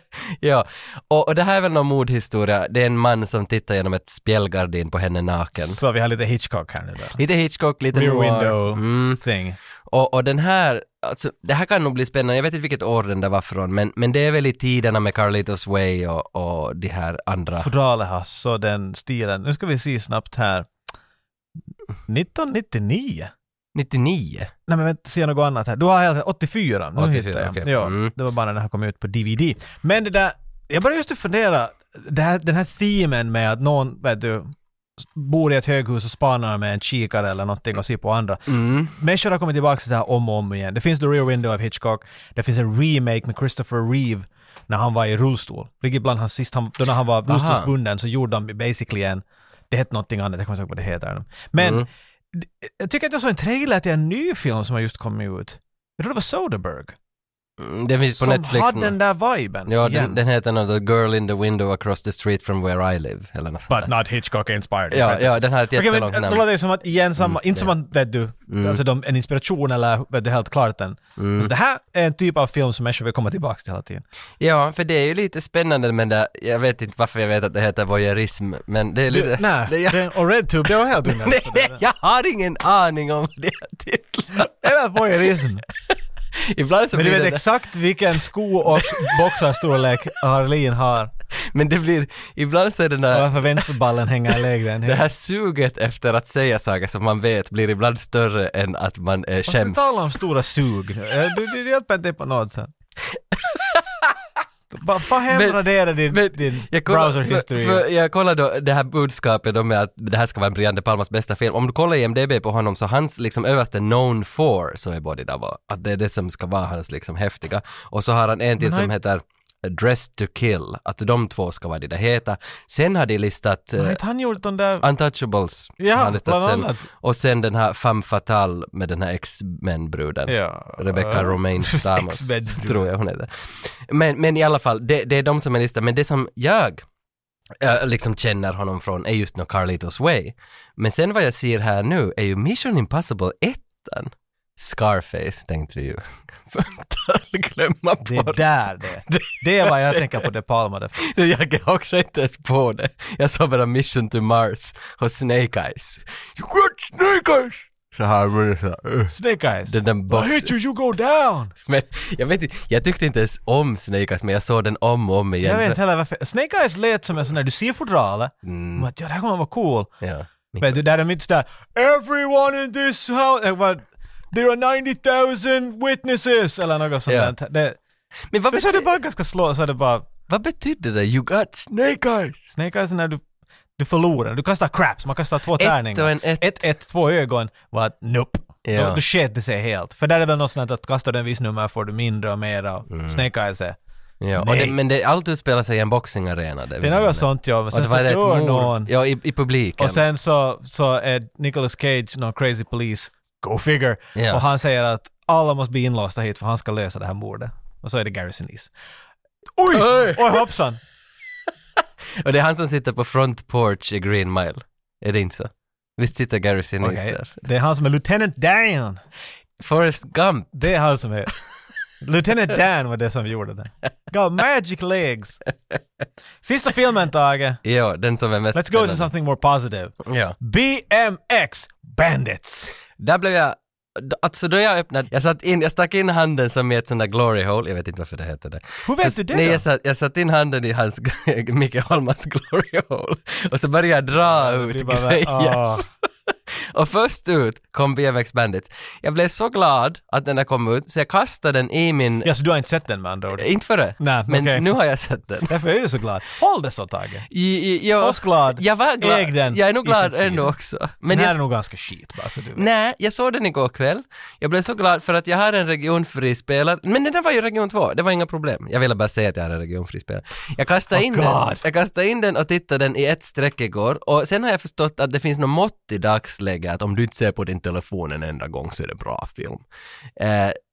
<laughs> ja, och, och det här är väl någon mordhistoria. Det är en man som tittar genom ett spjällgardin på henne naken.
Så vi har lite Hitchcock här nu då.
Lite Hitchcock, lite
Rear
noir.
window
Mm.
thing.
Och, och den här, alltså, det här kan nog bli spännande, jag vet inte vilket år den där var från, men, men det är väl i tiderna med Carlitos Way och, och de här andra.
Fodralet har så den stilen. Nu ska vi se snabbt här. 1999?
99?
Nej men vänta, ser jag något annat här? Du har helt rätt. 84. Nu
84,
84, hittar jag.
okej.
Ja,
Mm.
Det var bara när den här kom ut på DVD. Men det där, jag började just att fundera, det här, den här themen med att någon, vet du, bor i ett höghus och spanar med en kikare eller någonting och ser på andra.
Mm.
Människor har kommit tillbaka till det här om och om igen. Det finns The Rear Window av Hitchcock, det finns en remake med Christopher Reeve när han var i rullstol. Vilket bland hans sist, han, då när han var rullstolsbunden så gjorde de basically en, det hette någonting annat, jag kommer inte ihåg vad det heter. nu. Men
Mm.
d- jag tycker att jag såg en trailer till en ny film som har just kommit ut. Jag tror det var Soderbergh.
Mm, Den finns på
som
Netflix
hade
nu.
den där viben.
Ja, den,
igen.
den heter något The Girl in the Window Across the Street from Where I Live, eller något sånt
But
där.
not Hitchcock inspired.
Ja, ja, den har ett
Okej,
jättelångt
men då
namn.
låter det som att igen samma,
Mm,
inte som
ja.
att, vet du,
Mm.
alltså de, en inspiration eller vet du, helt klart en
Mm.
Så Alltså, det här är en typ av film som människor vill komma tillbaka till hela tiden.
Ja, för det är ju lite spännande men det, jag vet inte varför jag vet att det heter voyeurism, men det är lite...
Du, nej,
det, jag,
den, och RedTube, det var
<laughs>
helt
nej,
onödigt.
jag har ingen aning om vad det är titlar. <laughs>
Eller voyeurism.
Ibland så
Men du
blir
vet
det där-
exakt vilken sko och boxarstorlek Harlin har.
Men det blir, ibland så är den
Och
där,
varför vänsterballen hänger lägre än
det
höger.
här suget efter att säga saker som man vet blir ibland större än att man eh,
Varför
skäms.
talar om stora sug? Eh, Du, du, du hjälper inte på
<laughs>
något sätt. Bara bara hem
Men-
radera din,
men
din
Jag kollar,
browser history.
För, för jag kollar då det här budskapet då med att det här ska vara Brian De Palmas bästa film. Om du kollar IMDB på honom så hans liksom överste known for så är Body Double. Att det är det som ska vara hans liksom häftiga. Och så har han en till
Men har
som heter Dressed to kill. Att de två ska vara det där heta. Sen har de listat eh,
Har inte han gjort den där...
Untouchables. har
Ja,
han listat
bland
sen.
annat.
Och sen den här Femme Fatale med den här X-Men-bruden.
Ja.
Rebecca
<laughs>
Romaine Stamos,
X-Men.
tror jag hon heter. Men, men i alla fall, det, det är de som är listade. Men det som jag äh, liksom känner honom från är just no Carlitos Way. Men sen vad jag ser här nu är ju Mission Impossible 1 Scarface tänkte vi ju. <laughs> För att glömma
Det är
bort.
där det Det är vad jag tänker på De Palma. där.
Det jag är också inte ens på det. Jag såg bara Mission to Mars och Snake Eyes. You got Snake Eyes! Så här, men så här, uh,
Snake Eyes.
den där
I
boxen.
hit you, you go down!
Men jag vet inte, jag tyckte inte ens om Snake Eyes men jag såg den om och om igen.
Jag vet inte heller varför. Snake Eyes lät som en sån där, du ser fodralet.
Mm,
Mm. Ja, det här kommer vara cool.
ja.
Men du, där är mitt sådär “Everyone in this house...” eh, vad, “There are 90,000 witnesses” eller något sånt
Ja.
där. Det,
Men vad,
det, så är det
bety-
bara ganska slå, så är det bara
vad betydde det? You got Snake Eyes!
“Snake Eyes” är när du, du förlorar. Du kastar craps, man kastar två
Ett och
tärningar.
en ett.
Ett, ett, två ögon. Vad? Nope.
Ja.
Då, då sket det sig helt. För där är det väl något sånt att kastar du en viss nummer får du mindre och mera. och
Mm.
Snake Eyes är...
Ja, och
Nej.
det, men det, allt utspelar sig i en boxingarena. Det,
Det är något sånt ja,
Mm.
men
Och
sen
det
så
var det ett
dör någon.
mord. Ja, i, i publiken.
Och sen så, så är Nicolas Cage någon crazy police, go figure.
Ja.
Och han säger att alla måste bli inlåsta hit för han ska lösa det här mordet. Och så är det Gary Sinise. Oj!
Oj!
Oj hoppsan!
Och det är han som sitter på front porch i Green Mile. Är det inte så? Visst sitter Gary Sinise
Okej,
där?
det är han som är Lieutenant Dan!
Forrest Gump.
Det är han som är... Lieutenant Dan var det som gjorde det. Got magic legs! Sista filmen Tage.
Ja, den som är mest
Let's go to
spännande.
something more positive.
Ja.
BMX Bandits!
Där blev jag, alltså då jag öppnade, jag satt in, jag stack in handen som i ett sånt där glory hole, jag vet inte varför det heter det.
Hur vet
så,
du det
Nej,
då?
jag satt, jag satt in handen i hans, <laughs> Micke Holmans glory hole och så började jag dra
Det
ut
är bara-
grejer.
Ah.
Och först ut kom BMX Bandits. Jag blev så glad att den där kom ut så jag kastade den i min,
Ja, så du har inte sett den med andra ord?
inte före,
Nej,
men
okej.
nu har jag sett den.
Därför är du så glad. Håll det så Tage.
I, i, jag,
Oss glad.
Jag var glad.
Äg den
jag är nog
i sin
glad
sida.
ändå också.
Men
Men
den här
jag,
är nog ganska skit bara så du vet.
Nej, jag såg den igår kväll. Jag blev så glad för att jag har en regionfri spelare. Men den där var ju region 2, det var inga problem. Jag ville bara säga att jag hade en regionfri spelare. Jag kastade, in den.
Oh, God.
jag kastade in den och tittade den i ett streck igår. Och sen har jag förstått att det finns något mått i dagsläget att om du inte ser på din telefon en enda gång så är det bra film. Eh,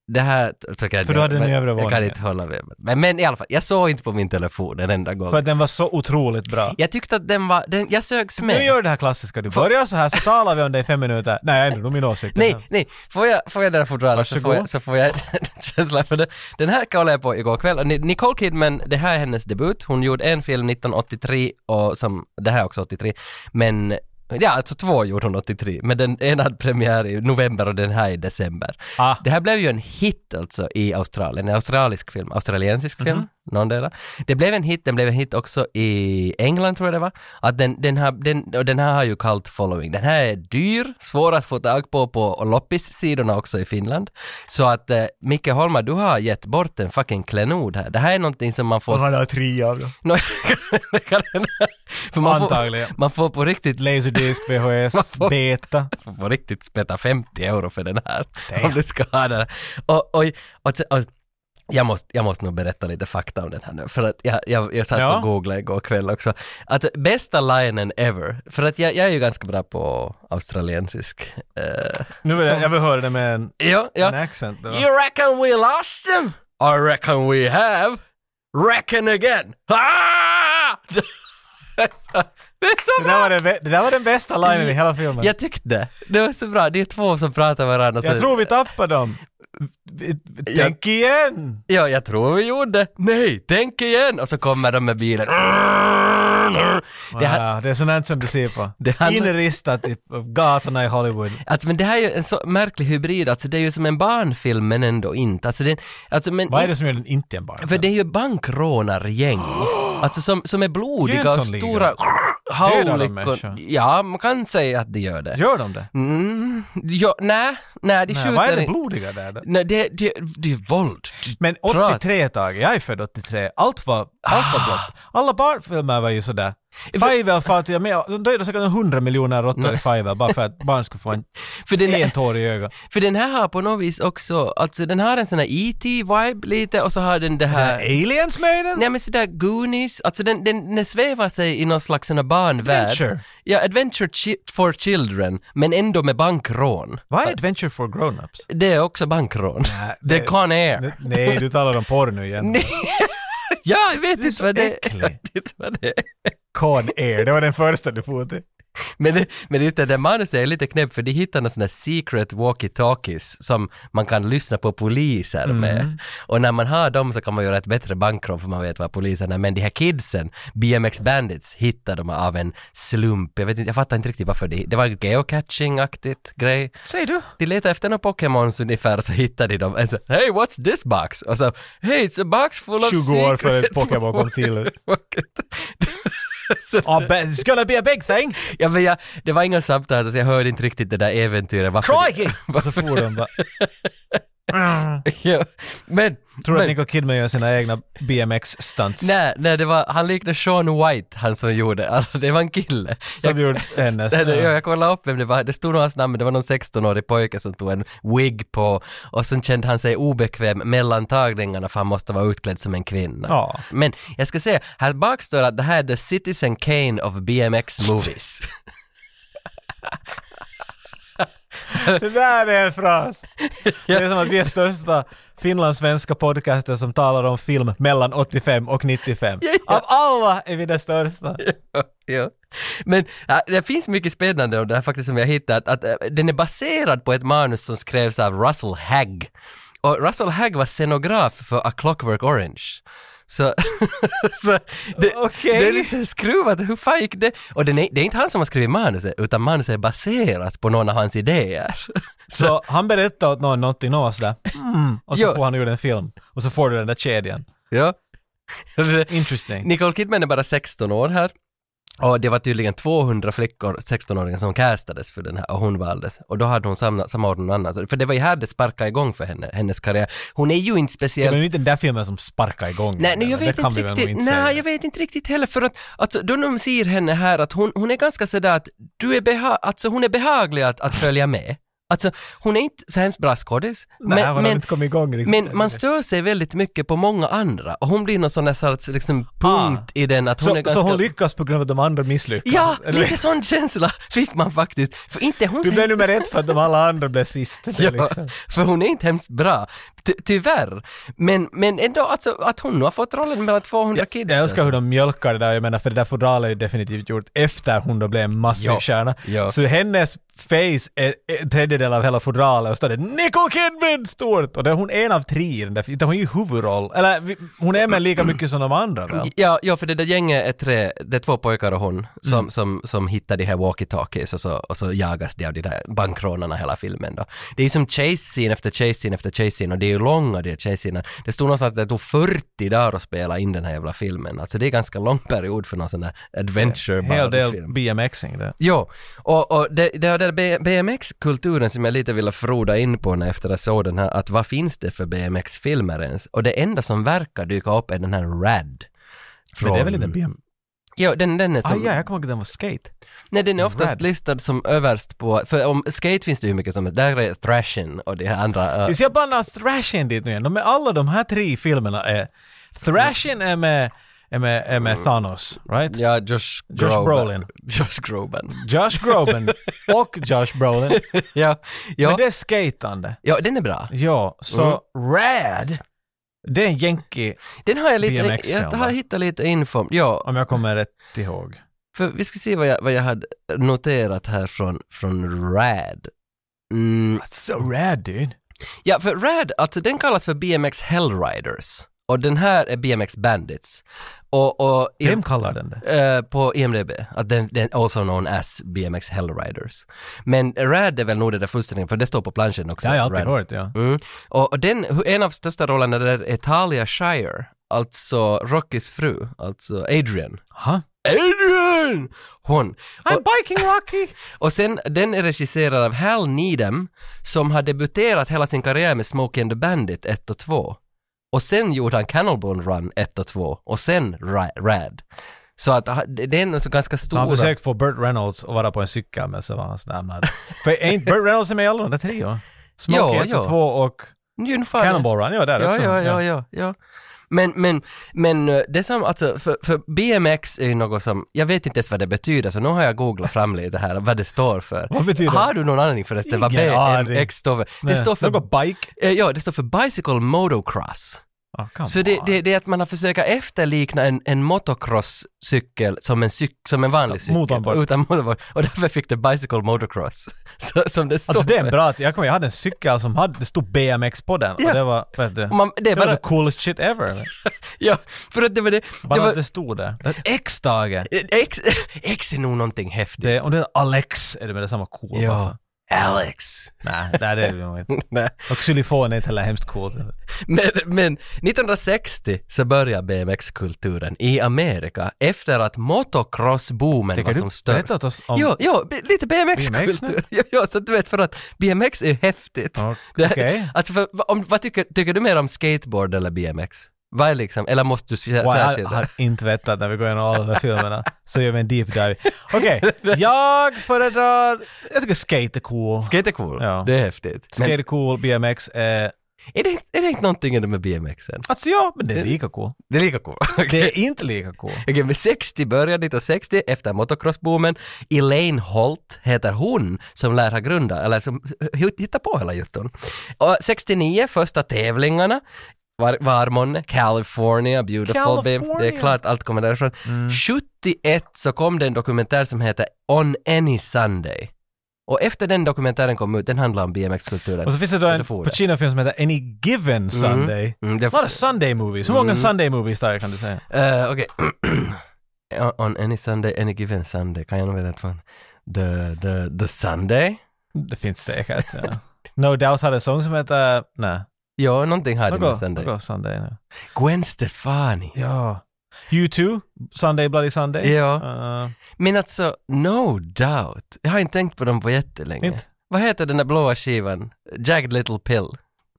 det här tycker jag
För du hade den i
men
övre
Jag kan
våningen.
inte hålla med. Men, men i alla fall, jag såg inte på min telefon en enda gång.
För att den var så otroligt bra.
Jag tyckte att den var, den, jag sögs med.
Nu gör det här klassiska, du börjar så här så talar vi om det i fem minuter. Nej, ändå, nog min åsikt.
Nej, nej, får jag, får jag den här fortfarande så får
Varsågod.
jag, så får jag <laughs> känslan för det. Den här kollade jag på igår kväll. Och Ni- Nicole Kidman, det här är hennes debut. Hon gjorde en film 1983 och som, det här är också 83, men Ja, alltså två gjorde hon 83, men den ena hade premiär i november och den här i december.
Ah.
Det här blev ju en hit alltså i Australien, en australisk film, australiensisk film,
Mhm.
någondera. Det blev en hit, den blev en hit också i England tror jag det var. Att den, den, här, den, och den här har ju cult following. Den här är dyr, svår att få tag på på loppissidorna också i Finland. Så att eh, Micke Holma, du har gett bort en fucking klenod här. Det här är någonting som man får...
Han har tre av dem.
<laughs> Nå, det kan- för man får,
Antagligen.
man får på riktigt
Laserdisc, VHS, beta.
får på Mm. riktigt speta 50 euro för den här.
Damn.
Om du ska ha den. här. Och, och, och, och, och jag måste, jag måste nog berätta lite fakta om den här nu, för att jag, jag, jag satt
Ja.
och googlade igår kväll också. Att bästa linen ever, för att jag, jag är ju ganska bra på australiensisk. eh,
Nu vill jag, jag vill höra det med en,
ja, ja.
en accent. Då.
You reckon we lost him? I reckon we have. Reckon again. Ah! <laughs> Det är så
Det,
bra!
där var den, bä- det där var den bästa linen i hela filmen. Jag,
Jag tyckte det. Det var så bra. Det är två som pratar med varandra. så-
tror vi tappar dem. Tänk igen!
Ja, jag tror vi gjorde. Nej, tänk igen! Och så kommer de med bilen. Det, här,
Wow, det är sånt här som du ser på.
det handlar,
Inristat i på gatorna i Hollywood.
alltså, men det här är ju en så märklig hybrid, alltså det är ju som en barnfilm men ändå inte. Alltså, det, alltså, men,
Vad är det som gör den inte en barn?
För det är ju
<gasps>
bankrånargäng. Alltså som, som är blodiga och
Jönssonligan.
stora
Dödar de
haulikon.
människor?
Ja, man kan säga att det gör det.
Gör de det?
Mm, ja, nej, nej, de
Nej,
skjuter
vad är det
inte.
blodiga där då?
Nej, det, det, det är våld. Det-
Men
Prat.
83 tag, jag är född 83, allt var,
Ah.
allt var blått. Alla barnfilmer var ju sådär. Fivel far till med, de dödade säkert 100 miljoner råttor i Fivel bara för att barn
<laughs>
skulle få en,
För den,
en tår i ögat.
för den här har på något vis också, alltså den har en sån här E.T.-vibe lite och så har den det här...
Eh, Aliens med den?
Nej men sådär Goonies, alltså den, den, den svävar sig i någon slags sån här barnvärld.
Adventure.
Ja, Adventure chi- for Children, men ändå med bankrån.
Vad är Adventure for Grown-Ups?
Det är också bankrån. det är
det-
Con Air.
N- Nej, du talar om porr nu igen.
Nej. ja, jag vet
Du är
inte
så
vad det är. <laughs> Jag
äcklig.
vet inte vad det är.
Con Air, det var den första du for till.
Men, det- men just det där manuset är lite knäppt för de hittar några sådana secret walkie-talkies som man kan lyssna på poliser
Mm.
med. Och när man har dem så kan man göra ett bättre bankrån för man vet vad polisen är. Men de här kidsen, BMX Bandits, hittar de av en slump. Jag vet inte, jag fattar inte riktigt varför det, det var geocaching-aktigt grej.
Säger du?
De letar efter några Pokémons ungefär så hittar de dem. Och så, hey what's this box? Och så, hey it's a box full of
20 år för
secrets." <laughs>
ett Pokémon kom till.
Så-
Oh, but it's gonna be a big thing!
Ja, men jag, det var inga samtal, så jag hörde inte riktigt det där äventyret. Varför <laughs>
Crikey! Och så for de bara.
ja, men...
Tror du att
men
Nicole Kidman gör sina egna BMX-stunts?
nej, nej, det var, han liknade Sean White, han som gjorde, alltså, det var en kille.
Som
jag,
gjorde hennes.
Ja, det- ja, jag kollade upp vem det var, det stod nog hans namn, men det var någon 16-årig pojke som tog en wig på och sen kände han sig obekväm mellan tagningarna för han måste vara utklädd som en kvinna.
Ja.
Men jag ska säga, här bak står att det här är the Citizen Kane of BMX movies.
Det där är en fras! Det är som att vi är största finlandssvenska podcasten som talar om film mellan 85 och 95.
Ja, ja.
Av alla är vi den största!
<laughs> ja. Men ja, det finns mycket spännande om det här faktiskt som jag hittat. Att, eh, den är baserad på ett manus som skrevs av Russell Hagg. Och Russell Hagg var scenograf för A Clockwork Orange. Så, <laughs> så det,
Okej.
det är lite skruvat, hur fan gick det? Och det är, det är inte han som har skrivit manuset, utan manuset är baserat på någon av hans idéer. <laughs> Så,
Så han berättar åt någon någonting och sådär mm. och så
Jo.
får han göra en film och så får du den där kedjan.
ja.
Interesting.
Nicole Kidman är bara 16 år här. Och det var tydligen 200 flickor, 16-åringar, som castades för den här och hon valdes. Och då hade hon samma, samma år någon annan. Så- För det var ju här det sparkade igång för henne, hennes karriär. Hon är ju inte
Det
speciellt...
var ju inte den där filmen som sparkar igång
Nej,
den,
nu, jag
men
vet
det kan
inte
vi väl
riktigt.
nog inte säga.
Nej, jag vet inte riktigt heller för att alltså, då de ser henne här att hon, hon är ganska sådär att du är beha- alltså, hon är behaglig att, att följa med. Alltså hon är inte så hemskt bra skådis.
Nej, men,
men,
inte kommit igång riktigt.
men man stör sig väldigt mycket på många andra och hon blir någon sån där sorts liksom, punkt i den att hon
Ah. så,
är ganska...
så hon lyckas på grund av att de andra misslyckas?
Ja,
Eller-
lite sån känsla fick man faktiskt. För inte hon
Du blev nummer ett för att de alla andra blev sist. Det
Ja,
är liksom.
för hon är inte hemskt bra, Ty tyvärr. Men, men ändå, alltså, att hon nu har fått rollen mellan 200 kids. alltså.
Jag älskar hur de mjölkar det där, jag menar för det där fodralet är ju definitivt gjort efter hon då blev en massiv
Ja,
stjärna.
ja.
Så hennes face är en tredjedel av hela fodralet och står det “Nicole Kidman” stort! Och det är hon en av tre i den där filmen, hon är ju huvudroll. Eller vi- hon är med lika mycket som de andra väl?
Ja, ja, för det där gänget är tre, det är två pojkar och hon som,
Mm.
som, som hittar de här walkie-talkies och så, och så jagas de av de där bankrånarna hela filmen då. Det är ju som chase-scene efter chase-scene efter chase-scene och det är ju långa de här chase-scenerna. Det stod någonstans att det tog 40 dagar att spela in den här jävla filmen. Alltså det är ganska lång period för någon sån där adventure
En hel del
barnfilm.
BMXing där.
Jo, och, och det, det är den B- BMX-kulturen som jag lite ville froda in på när efter jag såg den här, att vad finns det för BMX-filmer ens? Och det enda som verkar dyka upp är den här RAD.
Men det är väl
Från-
inte BMX?
Ja, den, den är
Ah,
som,
ja, jag kommer ihåg att den var skate.
nej den är oftast
Rad.
listad som överst på, för om skate finns det hur mycket som helst, där är thrashen och det här andra.
Vi
Uh,
ska blanda Thrashin dit nu igen. De är, alla de här tre filmerna är... Thrashin är med, är med, är med Thanos, right?
ja, Josh Groban.
Brolin.
<laughs> Josh Groban.
Josh Groban och Josh Brolin.
ja,
Men
ja,
det är skatande.
ja, den är bra.
Ja, så
Mm.
Rad, det är en jänki
Den har jag lite,
BMX-film,
jag
va?
har hittat lite info om. Ja,
om jag kommer rätt ihåg.
För vi ska se vad jag, vad jag hade noterat här från, från RAD. Mm,
That's so rad dude.
Ja, för Rad, alltså den kallas för BMX Hellriders. Och den här är BMX Bandits. Och, och i-
Vem kallar den det?
eh, på IMDB, att den, den also known as BMX Hellriders. Men Rad är väl nog det där fullständiga, för det står på planschen också.
Det har jag alltid
Rad.
hört, ja.
Mm. Och, och den, hu- en av största rollerna där är Talia Shire, alltså Rockys fru, alltså Adrian.
Aha.
Adrian! Hon.
I'm biking Rocky!
Och sen, den är regisserad av Hal Needham, som har debuterat hela sin karriär med Smokey and the Bandit 1 och 2. Och sen gjorde han Cannonball Run 1 och 2, och sen Ra- Rad. Så att ha- det det är nog så ganska
Så han
stora...
försökte få Burt Reynolds att vara på en cykel, men så var han sådär men- För är inte Burt Reynolds med i alla de där tre? va?
Ja,
Smokey 1
ja.
och 2 och
Ungefär-
Cannonball Run, ja där
ja,
också.
ja, ja, ja, ja. Men, men, men eh, det som, alltså, för, för BMX är ju något som, jag vet inte ens vad det betyder, så nu har jag googlat fram lite här, vad det står för.
Vad betyder det?
Har du någon aning förresten vad
Ingen aning.
BMX står för? Det
Nej,
står för,
Något bike?
eh, ja, det står för Bicycle Motocross.
Oh, come
Så det,
on.
det, det är att man har försökt efterlikna en, en motocross-cykel som en, cyk, som en vanlig cykel.
motorbord.
Utan motorbord. Och därför fick det Bicycle Motocross. <laughs> Så, som det står
Alltså det är en
för.
bra, jag kommer jag hade en cykel som hade, det stod BMX på den
Ja.
och det var, vet du,
Och Man, det är
det var
bara,
the coolest shit ever.
ja, för att det var det, det
Bara
var, Eh,
att det stod där. Det är X-dagen.
X, X är nog någonting häftigt.
Det, om det är Alex är det med detsamma cool.
Ja.
varför?
Alex. <laughs>
Nej, nej, det är det nog inte.
Nej.
Och xylofon är inte heller hemskt coolt.
Men, men 1960 så börjar BMX-kulturen i Amerika efter att motocross-boomen var
Tänker
som
du
störst.
berätta åt oss om...
Jo, jo, b- lite
BMX nu?
BMX-kultur. <laughs> ja, ja, så att du vet för att BMX är häftigt.
Ja,
<laughs> Det-
Okej.
Alltså, för, vad- om, vad tycker, tycker du mer om skateboard eller BMX? Vad är liksom, eller måste du sä-
Wow, jag
särskilja?
har inte vetat när vi går igenom alla de där
<laughs>
filmerna. Så gör vi en deep dive. Okej, jag föredrar... Jag tycker skate är cool.
Skate är cool,
Ja.
det är häftigt. Men
Skate är cool, BMX är...
är det, är det inte någonting i det med BMXen?
Alltså ja, men det är
<laughs>
lika cool.
Det är lika cool.
Det är inte lika cool.
Okej, men 60 började 1960 efter motocrossboomen. Elaine Holt heter hon som lär ha grundat, eller som h- hittar på hela jutton. Och 69, första tävlingarna. Var, var månne? California, beautiful babe. Det är
California. Mm.
klart allt kommer därifrån. 71 så kom det en dokumentär som heter On Any Sunday. Och efter den dokumentären kom ut, den handlar om BMX-kulturen.
Och så finns det då
det
en
får det.
Pacino-film som heter Any Given Sunday.
Mm, det,
A lot of Sunday movies. Hur många
Mm.
Sunday movies där kan du säga?
Eh, Okej. <clears throat> On any Sunday, any given Sunday. Kan jag använda det? fan? The, the, the Sunday?
Det finns säkert. Ja. <laughs> no Doubt hade en sång som heter... Nej.
Ja, någonting hade med
Något
Sunday.
något Sunday nu.
Gwen Stefani.
Ja. U2, Sunday Bloody Sunday.
Ja.
Eh,
Men alltså, no doubt. Jag har inte tänkt på dem på jättelänge.
Inte?
Vad heter den där blåa skivan? Jagged Little Pill?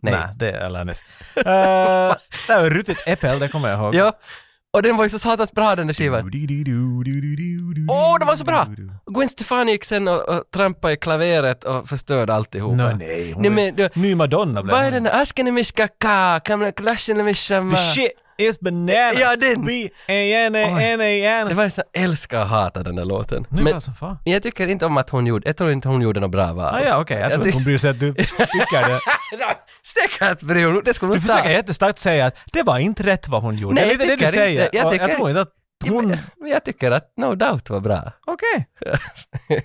Nej.
nej. det är Alanis. <laughs> Uh, det var Ruttet Äppel, det kommer jag ihåg.
Ja. Och den var ju så satans bra den där skivan. Åh, det var så bra! Gwen Stefani gick sen och, och trampade i klaveret och förstörde alltihopa.
No, nej.
Nej men, du,
Ny Madonna blev
vad är
hon.
den där? Askenemiska ka, kamla klaschen
The shit is banana.
Ja, den.
B-A-N-A-N-A-N.
Det var en sån, älskar och hatar den där låten.
Nu var
Men,
det som fan.
men jag tycker inte om att hon gjorde, jag tror inte hon gjorde något bra val.
Ah,
<laughs>
ja, okej. Jag
Jag
tror att hon bryr sig att du tycker det.
Säkert bryr hon det skulle
Du
hon ta.
försöker jättestarkt säga att det var inte rätt vad hon gjorde.
Nej,
det
jag
är det du
tycker
säger.
inte- jag
Och
tycker-
jag tror inte att
Ja,
hon...
men- Men jag tycker att No Doubt var bra. <laughs>
Okej.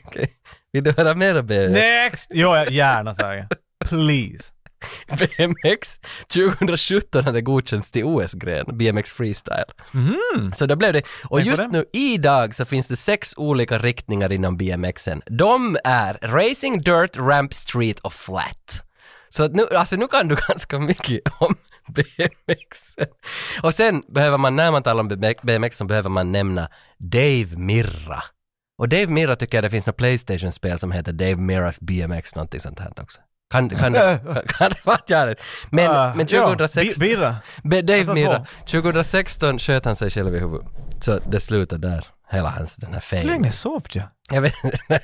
Okej. Vill du höra mer om B-
Next! Jo, jag- gärna tack. Please.
<laughs> BMX? 2017 hade godkänts till OS-gren, BMX freestyle. Så då blev det, och
Tänk på
just
det.
nu idag så finns det sex olika riktningar inom BMXen. De är Racing, Dirt, Ramp, Street och Flat. Så att nu, alltså nu kan du <laughs> ganska mycket om BMX. Och sen behöver man, när man talar om BMX, så behöver man nämna Dave Mirra. Och Dave Mirra tycker jag det finns något Playstation-spel som heter Dave Mirras BMX, någonting sånt här också. Kan, kan,
<laughs>
kan, kan det vara att jag har rätt? Men,
Ah,
men Mm.
ja,
2016...
bi- Birra.
Be- Dave
Alltså,
Mirra, 2016 sköt han sig själv i huvudet. Så det slutar där, hela hans den här
Hur
fame.
länge sov jag?
Jag vet <laughs>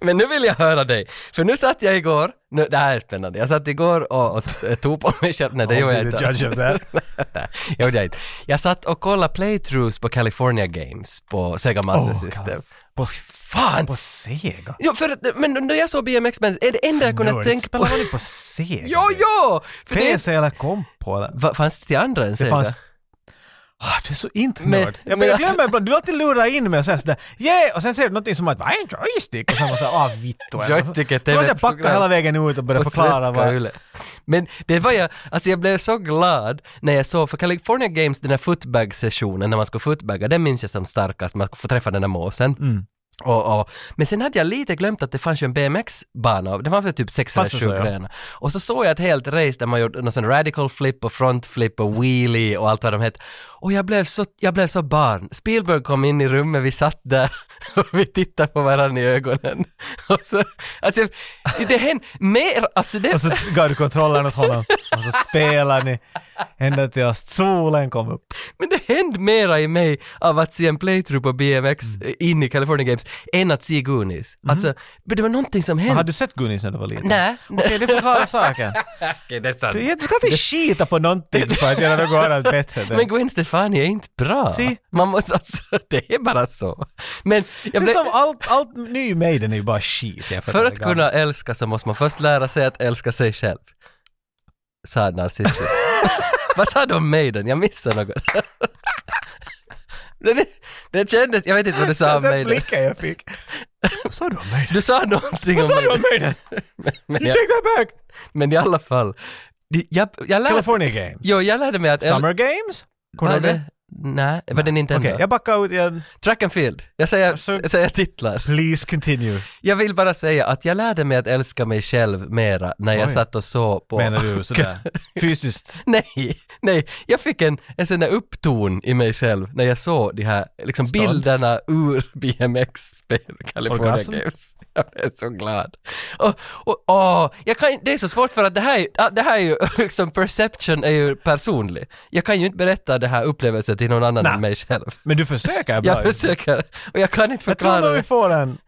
Men nu vill jag höra dig, för nu satt jag igår, nu, det här är spännande, jag satt igår och, och t- eh, tog på mig själv, nej det gjorde jag
I'll be
inte.
the
<laughs>
judge of that.
Nej, jag gjorde jag inte. Jag satt och kollade playthroughs på California Games på Sega Master
Åh,
System.
På,
Fan!
på Sega?
Jo, för, att- men när jag såg BMX, men det enda jag kunde
Nörd.
tänka på...
Spelar man på Sega?
Ja, ja! För det,
PC eller komp på den?
Va- fanns det till andra än Sega?
fanns- Ah, du är så inte
Men-
nörd. Jag,
men-
men, jag glömmer ibland, du alltid lurar in mig och säger sådär yeah! och sen säger du någonting som att vad är en joystick? Och sen bara såhär ah vittu.
Joystick är
Så måste jag backa
TV-program.
hela vägen ut och börja
På
förklara
svenska,
vad...
Yle. Men det var jag, alltså jag blev så glad när jag såg, för California Games, den här footbag-sessionen när man skulle footbagga, den minns jag som starkast, man skulle få träffa den där måsen.
Mm.
Och, och, men sen hade jag lite glömt att det fanns ju en BMX-bana, det var väl typ sex eller
Fast
sju
så, ja.
grenar. Och så såg jag ett helt race där man gjorde någon sån radical flip och front flip och wheelie och allt vad de hette. Och jag blev, så, jag blev så barn. Spielberg kom in i rummet, vi satt där <laughs> och vi tittade på varandra i ögonen. <laughs> Och så, alltså, det hände mer, alltså det...
Och så gav du kontrollen åt honom. Och så spelar ni ända tills solen kom upp.
Men det hände mera i mig av att se en playthrough på BMX eh, in i California Games än att se Goonies. Alltså, men det var någonting som hände.
Har du sett Goonies när du var liten?
Nej.
Okej, det förklarar saken.
Okej, det är sant.
Du, du ska inte skita på någonting för att göra något annat bättre.
Men Gwen Stefani är inte bra.
Si.
Man måste alltså, <laughs> det är bara så. Men jag
Det
blev,
är som allt, allt ny Maiden är ju bara skit. jämfört
för
med
att
det gamla.
kunna älska så måste man först lära sig att älska sig själv. Sa
<laughs>
Narcissus. Vad sa du om Maiden? Jag missade något. <laughs> det, det kändes, jag vet inte vad du sa
Jag
om
har sett
Maiden.
blicken jag fick. Vad sa du om Maiden?
Du sa någonting
Vad
om
sa du
Maiden.
om Maiden?
<laughs> Men
You
jag-
take that back!
Men i alla fall, det- jag, jag, lärde,
California Games.
jo, jag lärde mig att...
Summer Games? Kommer du
var
ihåg det?
det? Nej, var det Nintendo?
Okej, jag backar ut igen.
Track and field. Jag säger,
Så-
jag säger titlar.
Please continue.
Jag vill bara säga att jag lärde mig att älska mig själv mera när jag
Oj.
satt och såg på...
Menar du sådär fysiskt?
<laughs> Nej, nej. Jag fick en, en sån där uppton i mig själv när jag såg de här liksom,
Stånd.
bilderna ur <laughs> BMX-spel, California
Orgasm.
Games. <laughs> Jag blev så glad. Och, och, åh, jag kan, det är så svårt för att det här, är- ah, det här är ju, <laughs> liksom perception är ju personlig. Jag kan ju inte berätta det här upplevelsen till någon annan
Nej.
än mig själv.
Men du försöker bra.
Jag försöker, och jag kan inte
Jag tror
förklara
nog vi
det.
får en...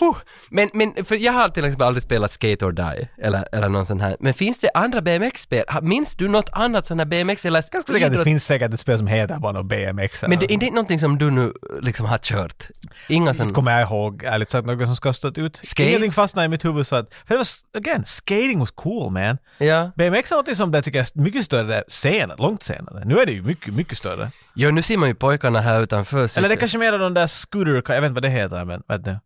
Huh. Men, men för jag har till exempel aldrig spelat Skate or Die, eller, eller någon sån här. Men finns det andra BMX-spel? Ha- Minns du något annat sån här BMX eller
Jag skulle säga att det
speedrun-
finns säkert ett spel som heter bara något BMX. eller
Men det är
något.
inte någonting som du nu liksom har kört? Inga sån...
kommer jag ihåg, ärligt sagt, något som ska ha stått ut.
Skate?
Ingenting fastnade i mitt huvud så att... För det var, s- again, skating was cool man.
Ja.
BMX är något som det tycker jag är mycket större senare, långt senare. Nu är det ju mycket, mycket större.
Jo, nu ser man ju pojkarna här utanför
Eller det
cyklar.
är kanske mer de där scooter, jag vet inte vad det heter men, vet du?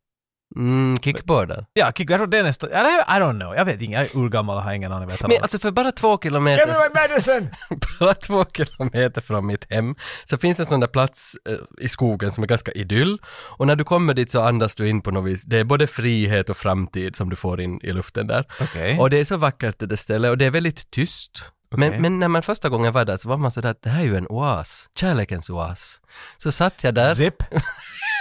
Mm, kickboarden.
Ja, kick, jag tror det är nästa, eller I don't know, jag vet inte, jag är urgammal och har ingen aning vad jag talar
Men
om.
alltså för bara två
Give me
kilometer,
my medicine!
bara två kilometer från mitt hem så finns en sån där plats eh, i skogen som är ganska idyll. Och när du kommer dit så andas du in på något vis. Det är både frihet och framtid som du får in i luften där.
Okej.
Och det är så vackert det där stället och det är väldigt tyst. Men,
Okej.
men när man första gången var där så var man sådär att det här är ju en oas, kärlekens oas. Så satt jag där,
Zip.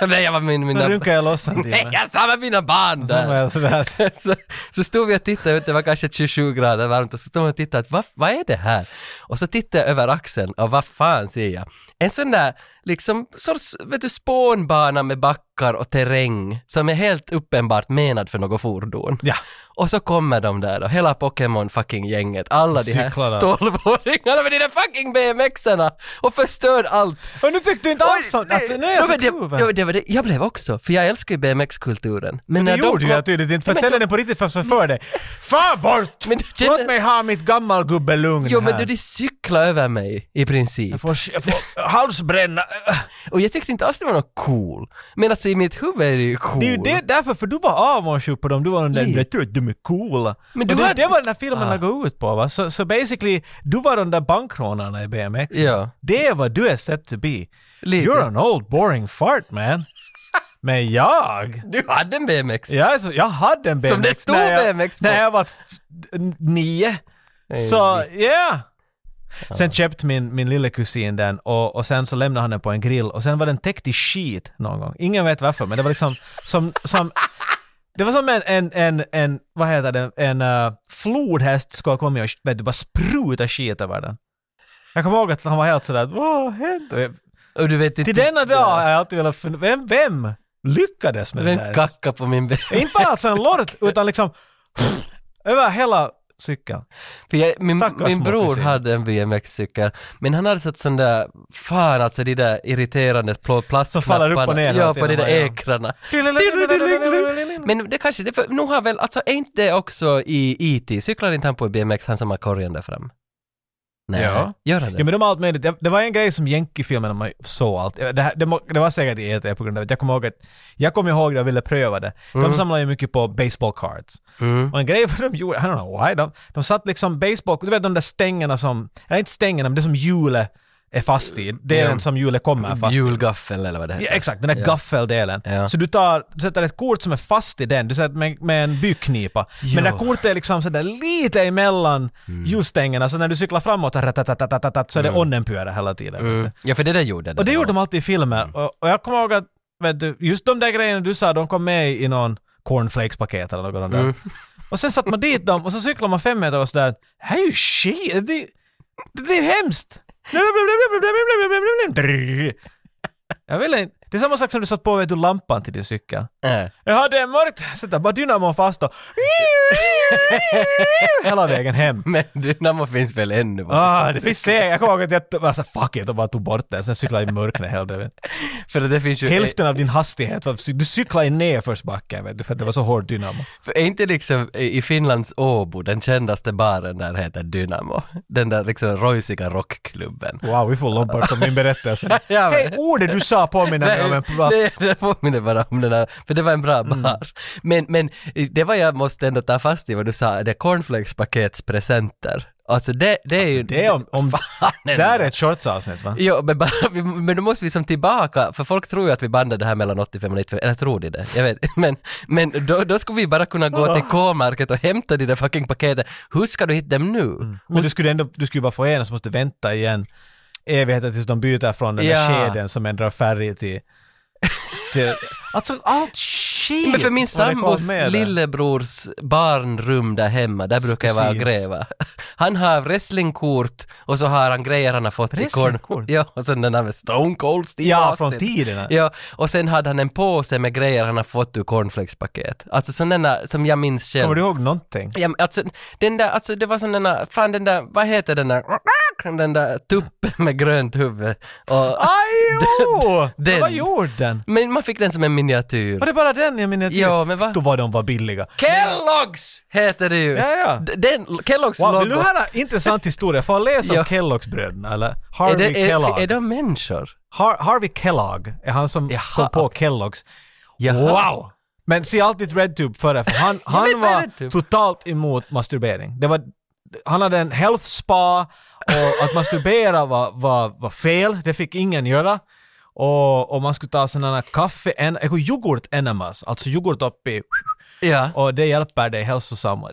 <laughs> nej jag var med
Nu
mina...
runkar jag loss en
Nej,
timme.
jag sa med mina barn
Sen var
där!
jag sådär
<laughs>
att...
så, så stod vi och tittade ut, det var kanske 27 grader varmt och så stod vi och tittade att vad, vad är det här? Och så tittade jag över axeln och vad fan ser jag? En sån där liksom sorts, vet du, spånbana med backar och terräng som är helt uppenbart menad för något fordon.
Ja.
Och så kommer de där och hela Pokémon fucking gänget, alla de här
Cyklarna.
12-åringarna med de där fucking BMXarna och förstör allt.
Och nu tyckte du inte alls sånt! Alltså nu är jag
Ja,
så
men det, ja,
kluven.
det var det. Jag blev också, för jag älskar ju BMX-kulturen. Men,
Det
när de
gjorde
kom-
jag tydligt inte, för att sen är det på riktigt fast för dig. Fan bort!
Men det känner-
Låt mig ha mitt gammalgubbelugn
Jo men
här.
du, de cyklade över mig i
Jag
princip.
får, jag får halsbränna.
Och jag tyckte inte alls det var något cool. Men alltså i mitt huvud är det ju cool.
Det är ju det, därför, för du var avundsjuk på dem, du var den där
Lite.
”jag tror att de är coola”.
Men
Men
du
du det,
hade-
det var den här filmen
Ah.
ah. går ut på va? Så, så basically, du var de där bankrånarna i BMX.
Ja.
Det är vad du är set to be.
Lite.
You're an old boring
<laughs>
fart man. Men jag,
Du hade en BMX.
jag, är så, jag hade en BMX
Som det stod
när jag,
BMX på.
när jag var f- n- nio.
Nej,
Så, yeah. Sen köpte min, min lille kusin den och, och sen så lämnade han den på en grill och sen var den täckt i skit någon gång. Ingen vet varför men det var liksom som, som det var som en, en, en, en vad heter det, en uh, flodhäst skulle ha kommit och vet du, bara spruta skit över den. Jag kommer ihåg att han var helt sådär vad hände?
Och du vet inte...
Till denna dag har jag alltid velat fundera, vem, vem lyckades med
Vem
det där?
kackade på min BMX?
Inte bara alltså en lort utan liksom över hela cykeln.
För jag, min,
Stackars
min
små
bror
kusiner.
hade en BMX-cykel, men han hade satt sån där, fan alltså de där irriterande pl- plastknapparna.
faller upp och ner hela
Ja, på de
tiden,
där
ja.
ekrarna. Men det kanske, det, för nu har E väl, alltså är inte det också i IT, cyklar inte han på BMX, han som har korgen där fram? Nej.
Ja.
Gör han det?
Ja men de har allt möjligt. Det- Det var en grej som Yankee-filmen man såg allt. Det, här, det, må- det var säkert i ET på grund av att jag kommer ihåg att jag kommer ihåg det och ville pröva det. De
Mm.
samlade ju mycket på baseball cards.
Mm.
Och en grej <laughs> vad de gjorde, I don't know why, de, de satt liksom baseball, du vet de där stängerna som, eller inte stängerna men det som hjulet är fast i. Delen
Ja.
som hjulet kommer fast i.
Julgaffel eller vad det heter.
Ja, exakt, den där gaffeldelen.
Ja.
Så du tar, du sätter ett kort som är fast i den, du sätter med, med en byknipa. Men det
Ja. Mm.
där kortet är liksom sådär lite emellan ljusstängerna, så när du cyklar framåt ratatatatatatat, så är det onnenpyörä hela tiden. vet
Mm.
du.
Ja, Mm. för det där gjorde det.
Och det gjorde de alltid i filmer. Och, och jag kommer ihåg att, vet du, just de där grejerna du sa, de kom med i någon cornflakes-paket eller något av de där.
Mm.
Och sen satte man dit dem och så cyklade man fem meter och sådär. Det här är ju shit, det, det, det är hemskt! Jag vill inte. Det är samma sak som du satt på vet du, lampan till din cykel.
Äh.
Jaha, det är mörkt! Sätter bara dynamon fast och... Hela vägen hem.
Men Dynamo finns väl ännu? va?
Ah, det finns säkert. Jag kommer ihåg att jag tog, alltså, fuck it och bara tog bort den. Sen cyklade jag i mörkret hela tiden.
För det finns ju...
Hälften av din hastighet var... Du cyklade i nedförsbacken vet du, för att det var så hård dynamo.
För är inte liksom i Finlands Åbo, den kändaste baren där heter Dynamo? Den där liksom rojsiga rockklubben.
Wow, vi får långt bort från min berättelse.
<laughs> Ja, men-
Hej, ordet du sa påminner mig om en plats. Mm.
det, det påminner bara om den här, för det var en bra bar. Men, men det var jag måste ändå ta fast i vad du sa, det är cornflakespakets presenter. Alltså det, det är ju...
Det
<laughs>
är om... om
Fan,
där är ett shortsavsnitt va?
Jo, men, bara, <laughs> vi- men då måste vi som tillbaka, för folk tror ju att vi bandade det här mellan 85 och 95, eller tror de det? Jag vet <laughs> Men, men då, då skulle vi bara kunna gå till K-market och hämta de där fucking paketen. Hur ska du hitta dem nu?
Men du skulle ändå, du skulle bara få en och så måste du vänta igen evigheter tills de byter från den
Ja.
där skeden som ändrar färg till... till alltså allt shit!
Men för min
Och det kom
sambos
med det.
lillebrors barnrum där hemma, där brukar jag vara och
Kusins.
gräva. <laughs> Han har wrestlingkort och så har han grejer han har fått i korn.
Wrestlingkort?
<laughs> Ja, och sen den där med Stone Cold Steve
Ja,
Austin.
från tiderna.
Ja, och sen hade han en påse med grejer han har fått ur cornflakespaket. Alltså sådana som jag minns själv.
Kommer du
<laughs>
ihåg någonting?
Ja, men alltså, den där, alltså det var sån den där, fan den där, vad heter den där, den där tuppen med grönt huvud. Och,
Aj, jo!
Den.
Men Vad gjorde den?
men man fick den som en miniatyr.
Var det bara den jag minns?
Ja, men va?
Då var de var billiga.
Kellogg's heter det ju.
Ja, ja.
D- Den, Kellogg's
Wow, vill du
logo.
höra
<laughs>
en intressant historia? Får jag läsa
Ja.
om Kelloggsbröderna eller?
Är,
Harvey
det, är,
Kellogg.
är de människor?
Har, Harvey Kellogg är han som
Jaha.
kom på Kelloggs.
Jaha.
Wow! Men se alltid RedTube före, för
<laughs>
han,
vet
han
vad
var
RedTube.
totalt emot masturbering. Det var, han hade en health spa och att masturbera var, var, var fel, det fick ingen göra. Och, och man skulle ta sådana här kaffe, en, eh, yoghurt enemas, alltså yoghurt upp i
Ja.
och det hjälper dig hälsosamt.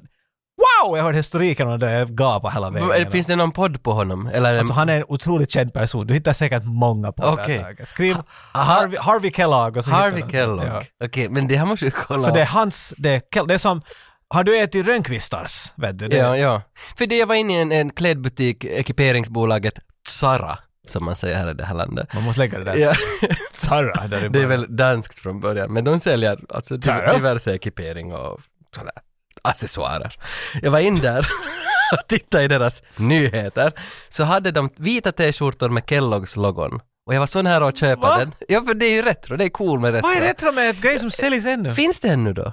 Wow! Jag hörde historiken och det gapade hela vägen.
V- Finns det någon podd på honom? Eller,
Alltså han är en otroligt känd person. Du hittar säkert många på det
Okej.
här taget. Skriv
Aha.
Harvey, Harvey Kellogg och så hittar
Harvey
du.
Kellogg.
Ja.
Okej, men det här måste vi kolla
Så det är
upp.
hans, det är, Kell- det är som, har du ätit rönnkvistars? Vet du? Det,
Ja, ja. För det, jag var inne i en, en klädbutik, ekiperingsbolaget Zara, som man säger här i det här landet.
Man måste lägga det där.
Ja.
Zara, där i
Det är
början.
väl danskt från början, men de säljer alltså
Tara?
diverse ekipering och sådär accessoarer. Jag var in där <laughs> och tittade i deras nyheter, så hade de vita t-skjortor med Kelloggs logon. Och jag var så nära att köpa
Va?
den. Ja, för det är ju retro, det är cool med retro.
Vad är retro med ett grej som säljs ännu?
Finns det ännu då?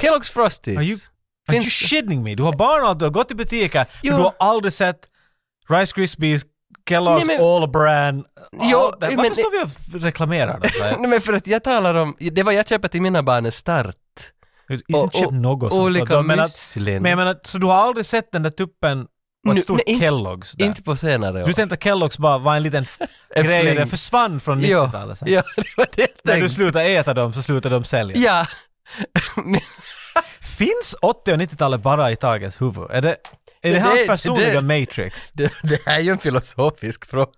Kellogg's Frosties?
Are you- Are you
Finns...
shitting me? Du har barn och du har gått i butiker,
Jo.
men du har aldrig sett Rice Krispies, Kellogg's,
Nej, men-
All Brand,
Jo,
allt det. Varför
men-
står vi och reklamerar det? så här?
Nej men för att jag talar om, det var jag köper till mina barn är start. Och-
Isn't chip
och- liksom
något sånt? Alltså,
Olika
Jag menar-
müslin.
Men jag menar, så du har aldrig sett den där tuppen på ett
Nu-
stort
nej, inte-
Kellogg's där?
Inte på senare år.
Du tänkte att Kellogg's bara var en liten f-
<laughs> En
grej,
fling.
den försvann från
Ja,
90-talet sen.
ja, det var det jag
När du
tänkte.
slutade äta dem så slutade de sälja.
Ja.
Finns 80 och 90-talet bara i Tages huvud? Är det, är det
Det-
hans
det-
personliga
det-
matrix?
<laughs> Det, det här är ju en filosofisk fråga.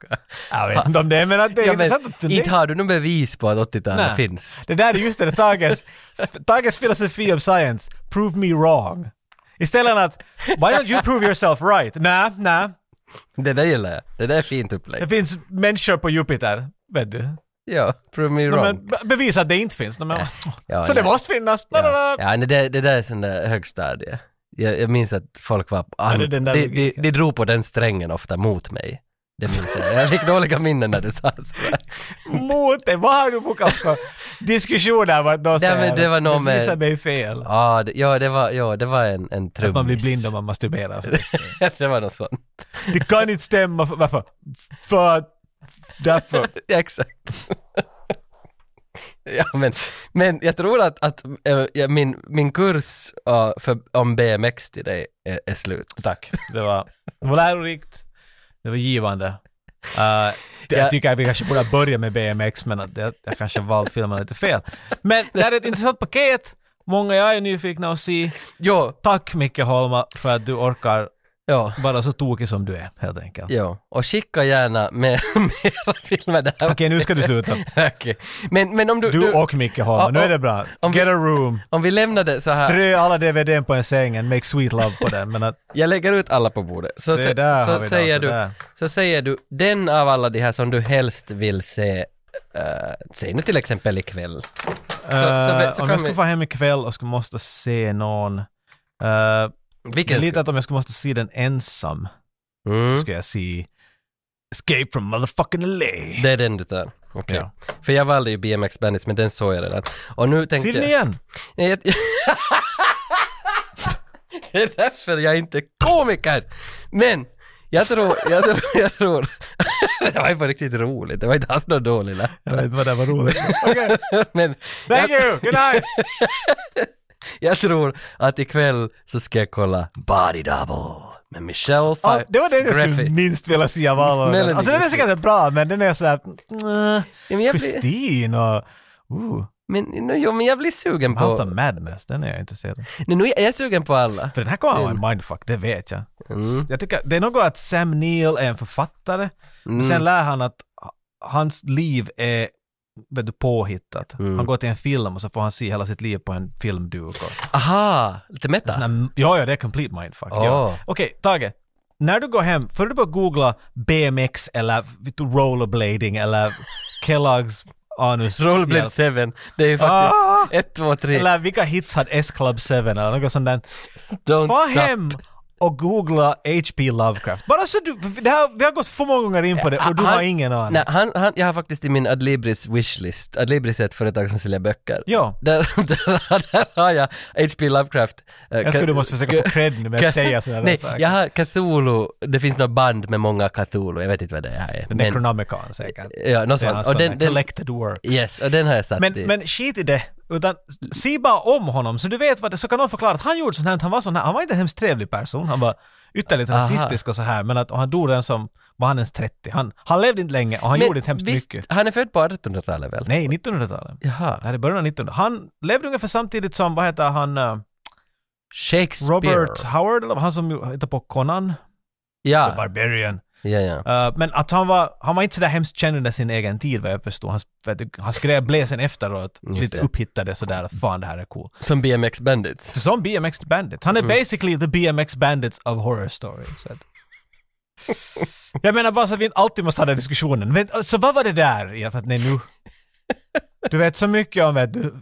Jag vet inte om det är, men att det är
Ja, men
intressant att
inte
fundera.
har du något bevis på att 80-talet
Nej.
finns.
Det där är just det, Tages, Tages <laughs> filosofi of science. Prove me wrong. Istället för att, why don't you prove yourself right? Nä, nä.
Det där gillar jag. Det där är fint
Det
upplägg.
finns människor på Jupiter, vet du.
Ja, prove me
No,
wrong.
men be- bevisa att det inte finns. No, men,
ja,
<laughs> så det
nej.
måste finnas. Bla, bla,
Ja,
bla.
ja men det, det där är sån där högstadie. Jag, jag minns att folk var...
Är det den där
de, de,
logiken?
de drog på den strängen ofta mot mig. Det minns jag. Jag fick dåliga minnen när du sa
<laughs>
sådär.
Mot dig. Vad har du bokat för diskussioner? Vad de säger?
men det var någon med-
Bevisa mig fel.
Ja, det, ja, det var, ja, det var en, en trummis.
Att man blir blind om man masturberar.
<laughs> det var något sånt.
Det kan inte stämma. För, varför? För att...
<laughs>
Därför.
Ja, exakt. <laughs> ja, men, men jag tror att, att eh, ja, min, min kurs eh, för, om BMX till dig är, är slut.
Tack. Det var, det var lärorikt. Det var givande. Eh, det,
Ja.
Jag tycker att vi kanske borde ha börjat med BMX, men att jag, jag kanske valde filmen lite fel. Men det här är ett intressant paket. Många jag är nyfikna att se.
Jo,
Tack Micke Holma för att du orkar
ja.
vara så tokig som du är, helt enkelt.
Ja, och skicka gärna mer, <laughs> mera filmer där.
Okej, nu ska du sluta.
Okej. Men, men om du,
Du
du
och Micke Holma,
Ja,
nu är
och-
det bra.
om vi-
Get a room.
om vi lämnar det så här,
Strö alla DVDn på en säng and make sweet love på den. Men att,
jag lägger ut alla på bordet. <laughs> Så,
Se
sä-
där har
så,
vi det,
säger
så
du,
där.
så säger du, den av alla de här som du helst vill se, eh, säg nu till exempel ikväll. Så,
eh,
så, så, kan
om jag skulle
vi,
få hem ikväll och skulle måste se någon. eh,
vilken
lite
ska-
att om jag skulle måste se den ensam så
mm,
skulle jag se Escape from motherfucking LA.
Det är den du tar. Okej.
Ja.
För jag valde ju BMX Bandits, men den såg jag redan. Och nu tänkte
Se den
jag...
igen!
Nej, jag... <laughs> det är därför jag inte är komiker! Men jag tror, jag tror, jag tror... <laughs> det var ju på riktigt roligt, det var inte alls något dåligt läpp.
Jag vet inte vad det
<laughs>
var roligt. Okej,
Men
thank
jag,
you! Good night!
jag tror att ikväll så ska jag kolla Body Double med Michelle
Ja,
Pfeiffer.
det var den jag skulle
Griffith.
minst vilja se av alla.
Melody
Alltså den är
Griffith.
säkert bra, men den är såhär...
Ja, men jag blir,
Kristin och... Ooh,
men, no, jo, men jag blir sugen
Mouth of
på...
Madness, den är jag intresserad av.
Nej, Nu är jag sugen på alla.
För den här kommer att vara
Mm.
en mindfuck, det vet jag. S- Jag tycker det är något att Sam Neill är en författare,
Mm.
och sen lär han att h- hans liv är vet du, påhittat.
Mm.
Han går till en film och så får han se hela sitt liv på en filmduk. Och,
Aha, lite
en sån
meta.
här, ja, ja, det är complete mindfuck.
Åh.
Ja. Okej, Tage. När du går hem, får du bara googla BMX eller vet du,
<laughs>
rollerblading eller Kellogg's anus.
Rollblade 7, det är ju
Ah!
faktiskt 1, 2, 3.
Eller vilka hits hade S-Club 7 eller något sånt där.
Don't
Få
stop.
hem och googla H.P. Lovecraft. Bara så du, det här, vi har gått för många gånger in på det och du har
Han-
ingen aning.
Nej, han, han, jag har faktiskt i min Adlibris wishlist, Adlibris är ett företag som säljer böcker.
Ja.
Där, <laughs> där, där har jag H.P. Lovecraft. eh,
Jag tror
Ca-
du måste försöka få cred nu med
Ca-
att säga sådana
<laughs>
där
Nej,
saker.
jag har Cthulhu, det finns något band med många Cthulhu, jag vet inte vad det här är. Men,
Necronomicon säkert.
ja, något
Det är
sånt.
alltså
Och den, den,
collected works.
yes, och den har jag satt
Men,
i.
men skit i det, utan se bara om honom så du vet vad det så kan någon förklara att han gjorde sånt här, han var sån här, han var inte en hemskt trevlig person, han var ytterligt
Aha.
rasistisk och så här, men att och han dog den som, var han ens 30? Han, han levde inte länge och han
Men
gjorde inte hemskt
visst,
mycket.
han är född på 1800-talet väl?
Nej, 1900-talet.
Jaha.
Det här är början av 1900 Han levde ungefär samtidigt som, vad heter han, eh,
Shakespeare.
Robert Howard, eller han som ju- hittade på Conan, The
Ja,
Barbarian.
ja, ja.
Eh, men att han var, han var inte sådär hemskt känd under sin egen tid vad jag förstår. Han, vet du, han skrev bläsen efteråt,
Just
lite
det.
upphittade sådär, att fan det här är cool.
Som BMX Bandits.
Som BMX Bandits. Han är
Mm.
basically the BMX Bandits of horror stories. Så att- <laughs> Jag menar bara så att vi inte alltid måste ha den diskussionen. Men, eh, så vad var det där? Ja, för att nej, nu... Du vet så mycket om vet du,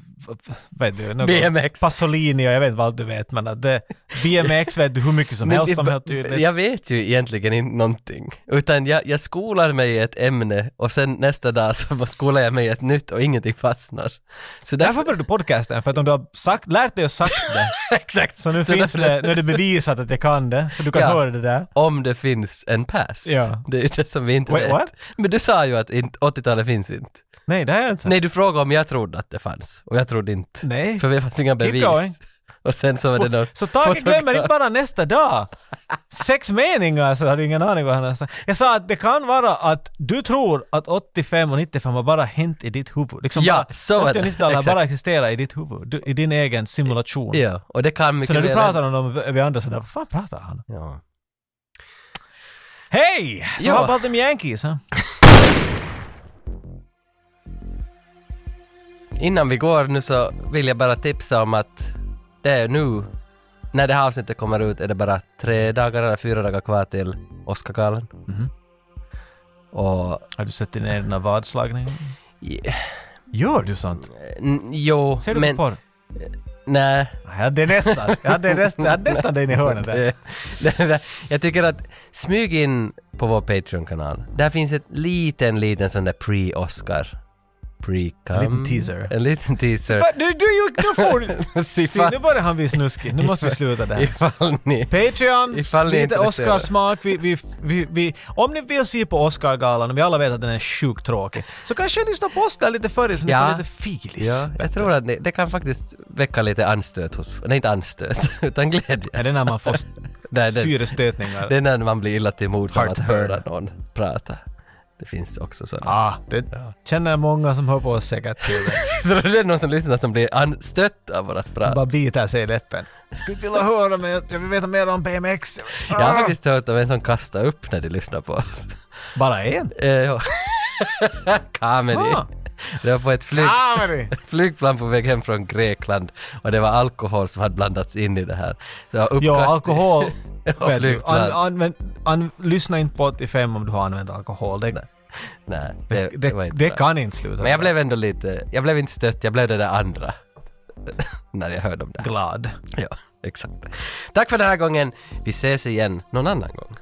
vet du, något-
BMX.
Pasolini och jag vet inte vad allt du vet men att det,
<laughs>
BMX vet du hur mycket som
Men
helst
det-
om helt tydligt.
Jag vet ju egentligen inte någonting. Utan jag, jag skolar mig i ett ämne och sen nästa dag så bara skolar jag mig i ett nytt och ingenting fastnar. Så
<laughs>
därför...
Därför började du podcasten, för att om du har sagt, lärt dig och sagt
<laughs>
det
Exakt!
så nu,
Så
finns
därför-
det, nu är det bevisat att jag kan det, för du kan
Ja.
höra det där.
Om det finns en past.
Ja.
Det är det som vi inte
Wait,
vet.
what?
Men du sa ju att inte- 80-talet finns inte.
Nej, det har jag inte sagt.
Nej, du frågade om jag trodde att det fanns. Och jag trodde inte.
Nej.
För det fanns inga
going.
bevis. Och sen så var det någon...
Så Tage
folk-
glömmer inte bara nästa dag. Sex meningar så har du ingen aning vad han har sagt. Jag sa att det kan vara att du tror att 85 och 95 har bara hänt i ditt huvud. Liksom
Ja,
bara,
så är
80
det.
och 90-talet har
Exakt.
bara existerat i ditt huvud, du, i din egen simulation.
Ja, och det kan
Så
mycket
när du
väl-
pratar om dem, eh, vi andra sådär, vad fan pratar han om?
Ja.
Hej! Så
Ja.
how about them Yankees? eh? Huh?
Innan vi går nu så vill jag bara tipsa om att det är nu, när det här avsnittet kommer ut, är det bara tre dagar eller fyra dagar kvar till Oscargalan.
Mhm.
Och
Har du sett din egna vadslagning?
eh,
Gör du sånt?
n- jo,
Ser du
men...
på porr?
Nej.
Jag hade nästan, jag hade nästan, jag hade nästan den i
<laughs>
hörnet där.
Det- det- det- jag tycker att smyg in på vår Patreon-kanal. Där finns ett liten, liten sån där pre-Oscar Pre-cum.
Liten teaser.
En liten teaser.
Men Nu, du, ju- nu
<laughs>
får du... Se, nu
Siffa,
börjar han bli snuskig. Nu måste vi sluta det här.
ifall ni...
Patreon,
Ifall ni är
lite
intresserade.
Oscarsmak. Vi, vi, vi, vi, om ni vill se på Oscargalan, och vi alla vet att den är sjukt tråkig, så kanske ni lyssnar på oss där lite före så ni
Ja.
får lite filis.
Ja, jag tror att ni, det kan faktiskt väcka lite anstöt hos... Nej, inte anstöt, <laughs> utan glädje.
Är det när
<laughs>
man får s-
Det, är det,
syrestötningar?
det är när man blir illa till mods av att
Heartburn.
höra någon prata. Det finns också sådana. <laughs>
ah, det känner många som hör på oss säkert till det.
Tror du det är någon som lyssnar som blir anstött av vårt
Som
prat?
bara biter sig i läppen. Skulle inte vilja höra men jag jag vill veta mer om BMX.
Jag har faktiskt hört om en som kastar upp när de lyssnar på oss. <laughs>
Bara en?
Eh, ja. <laughs> Comedy.
Ah.
Det var på ett flyg,
Ah, men det-
flygplan på väg hem från Grekland och det var alkohol som hade blandats in i det här. Så uppkast-
Ja, alkohol.
och
vet du,
flygplan.
an, använd, an, lyssna inte på 85 om du har använt alkohol. Det, det,
Nej, det, det, var
det,
inte bra.
kan inte sluta
Men jag
bra.
blev ändå lite, jag blev inte stött, jag blev det där andra. <laughs> när jag hörde om det. här.
glad.
Ja, exakt. Tack för den här gången. Vi ses igen någon annan gång.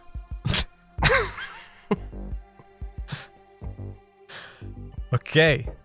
Okej.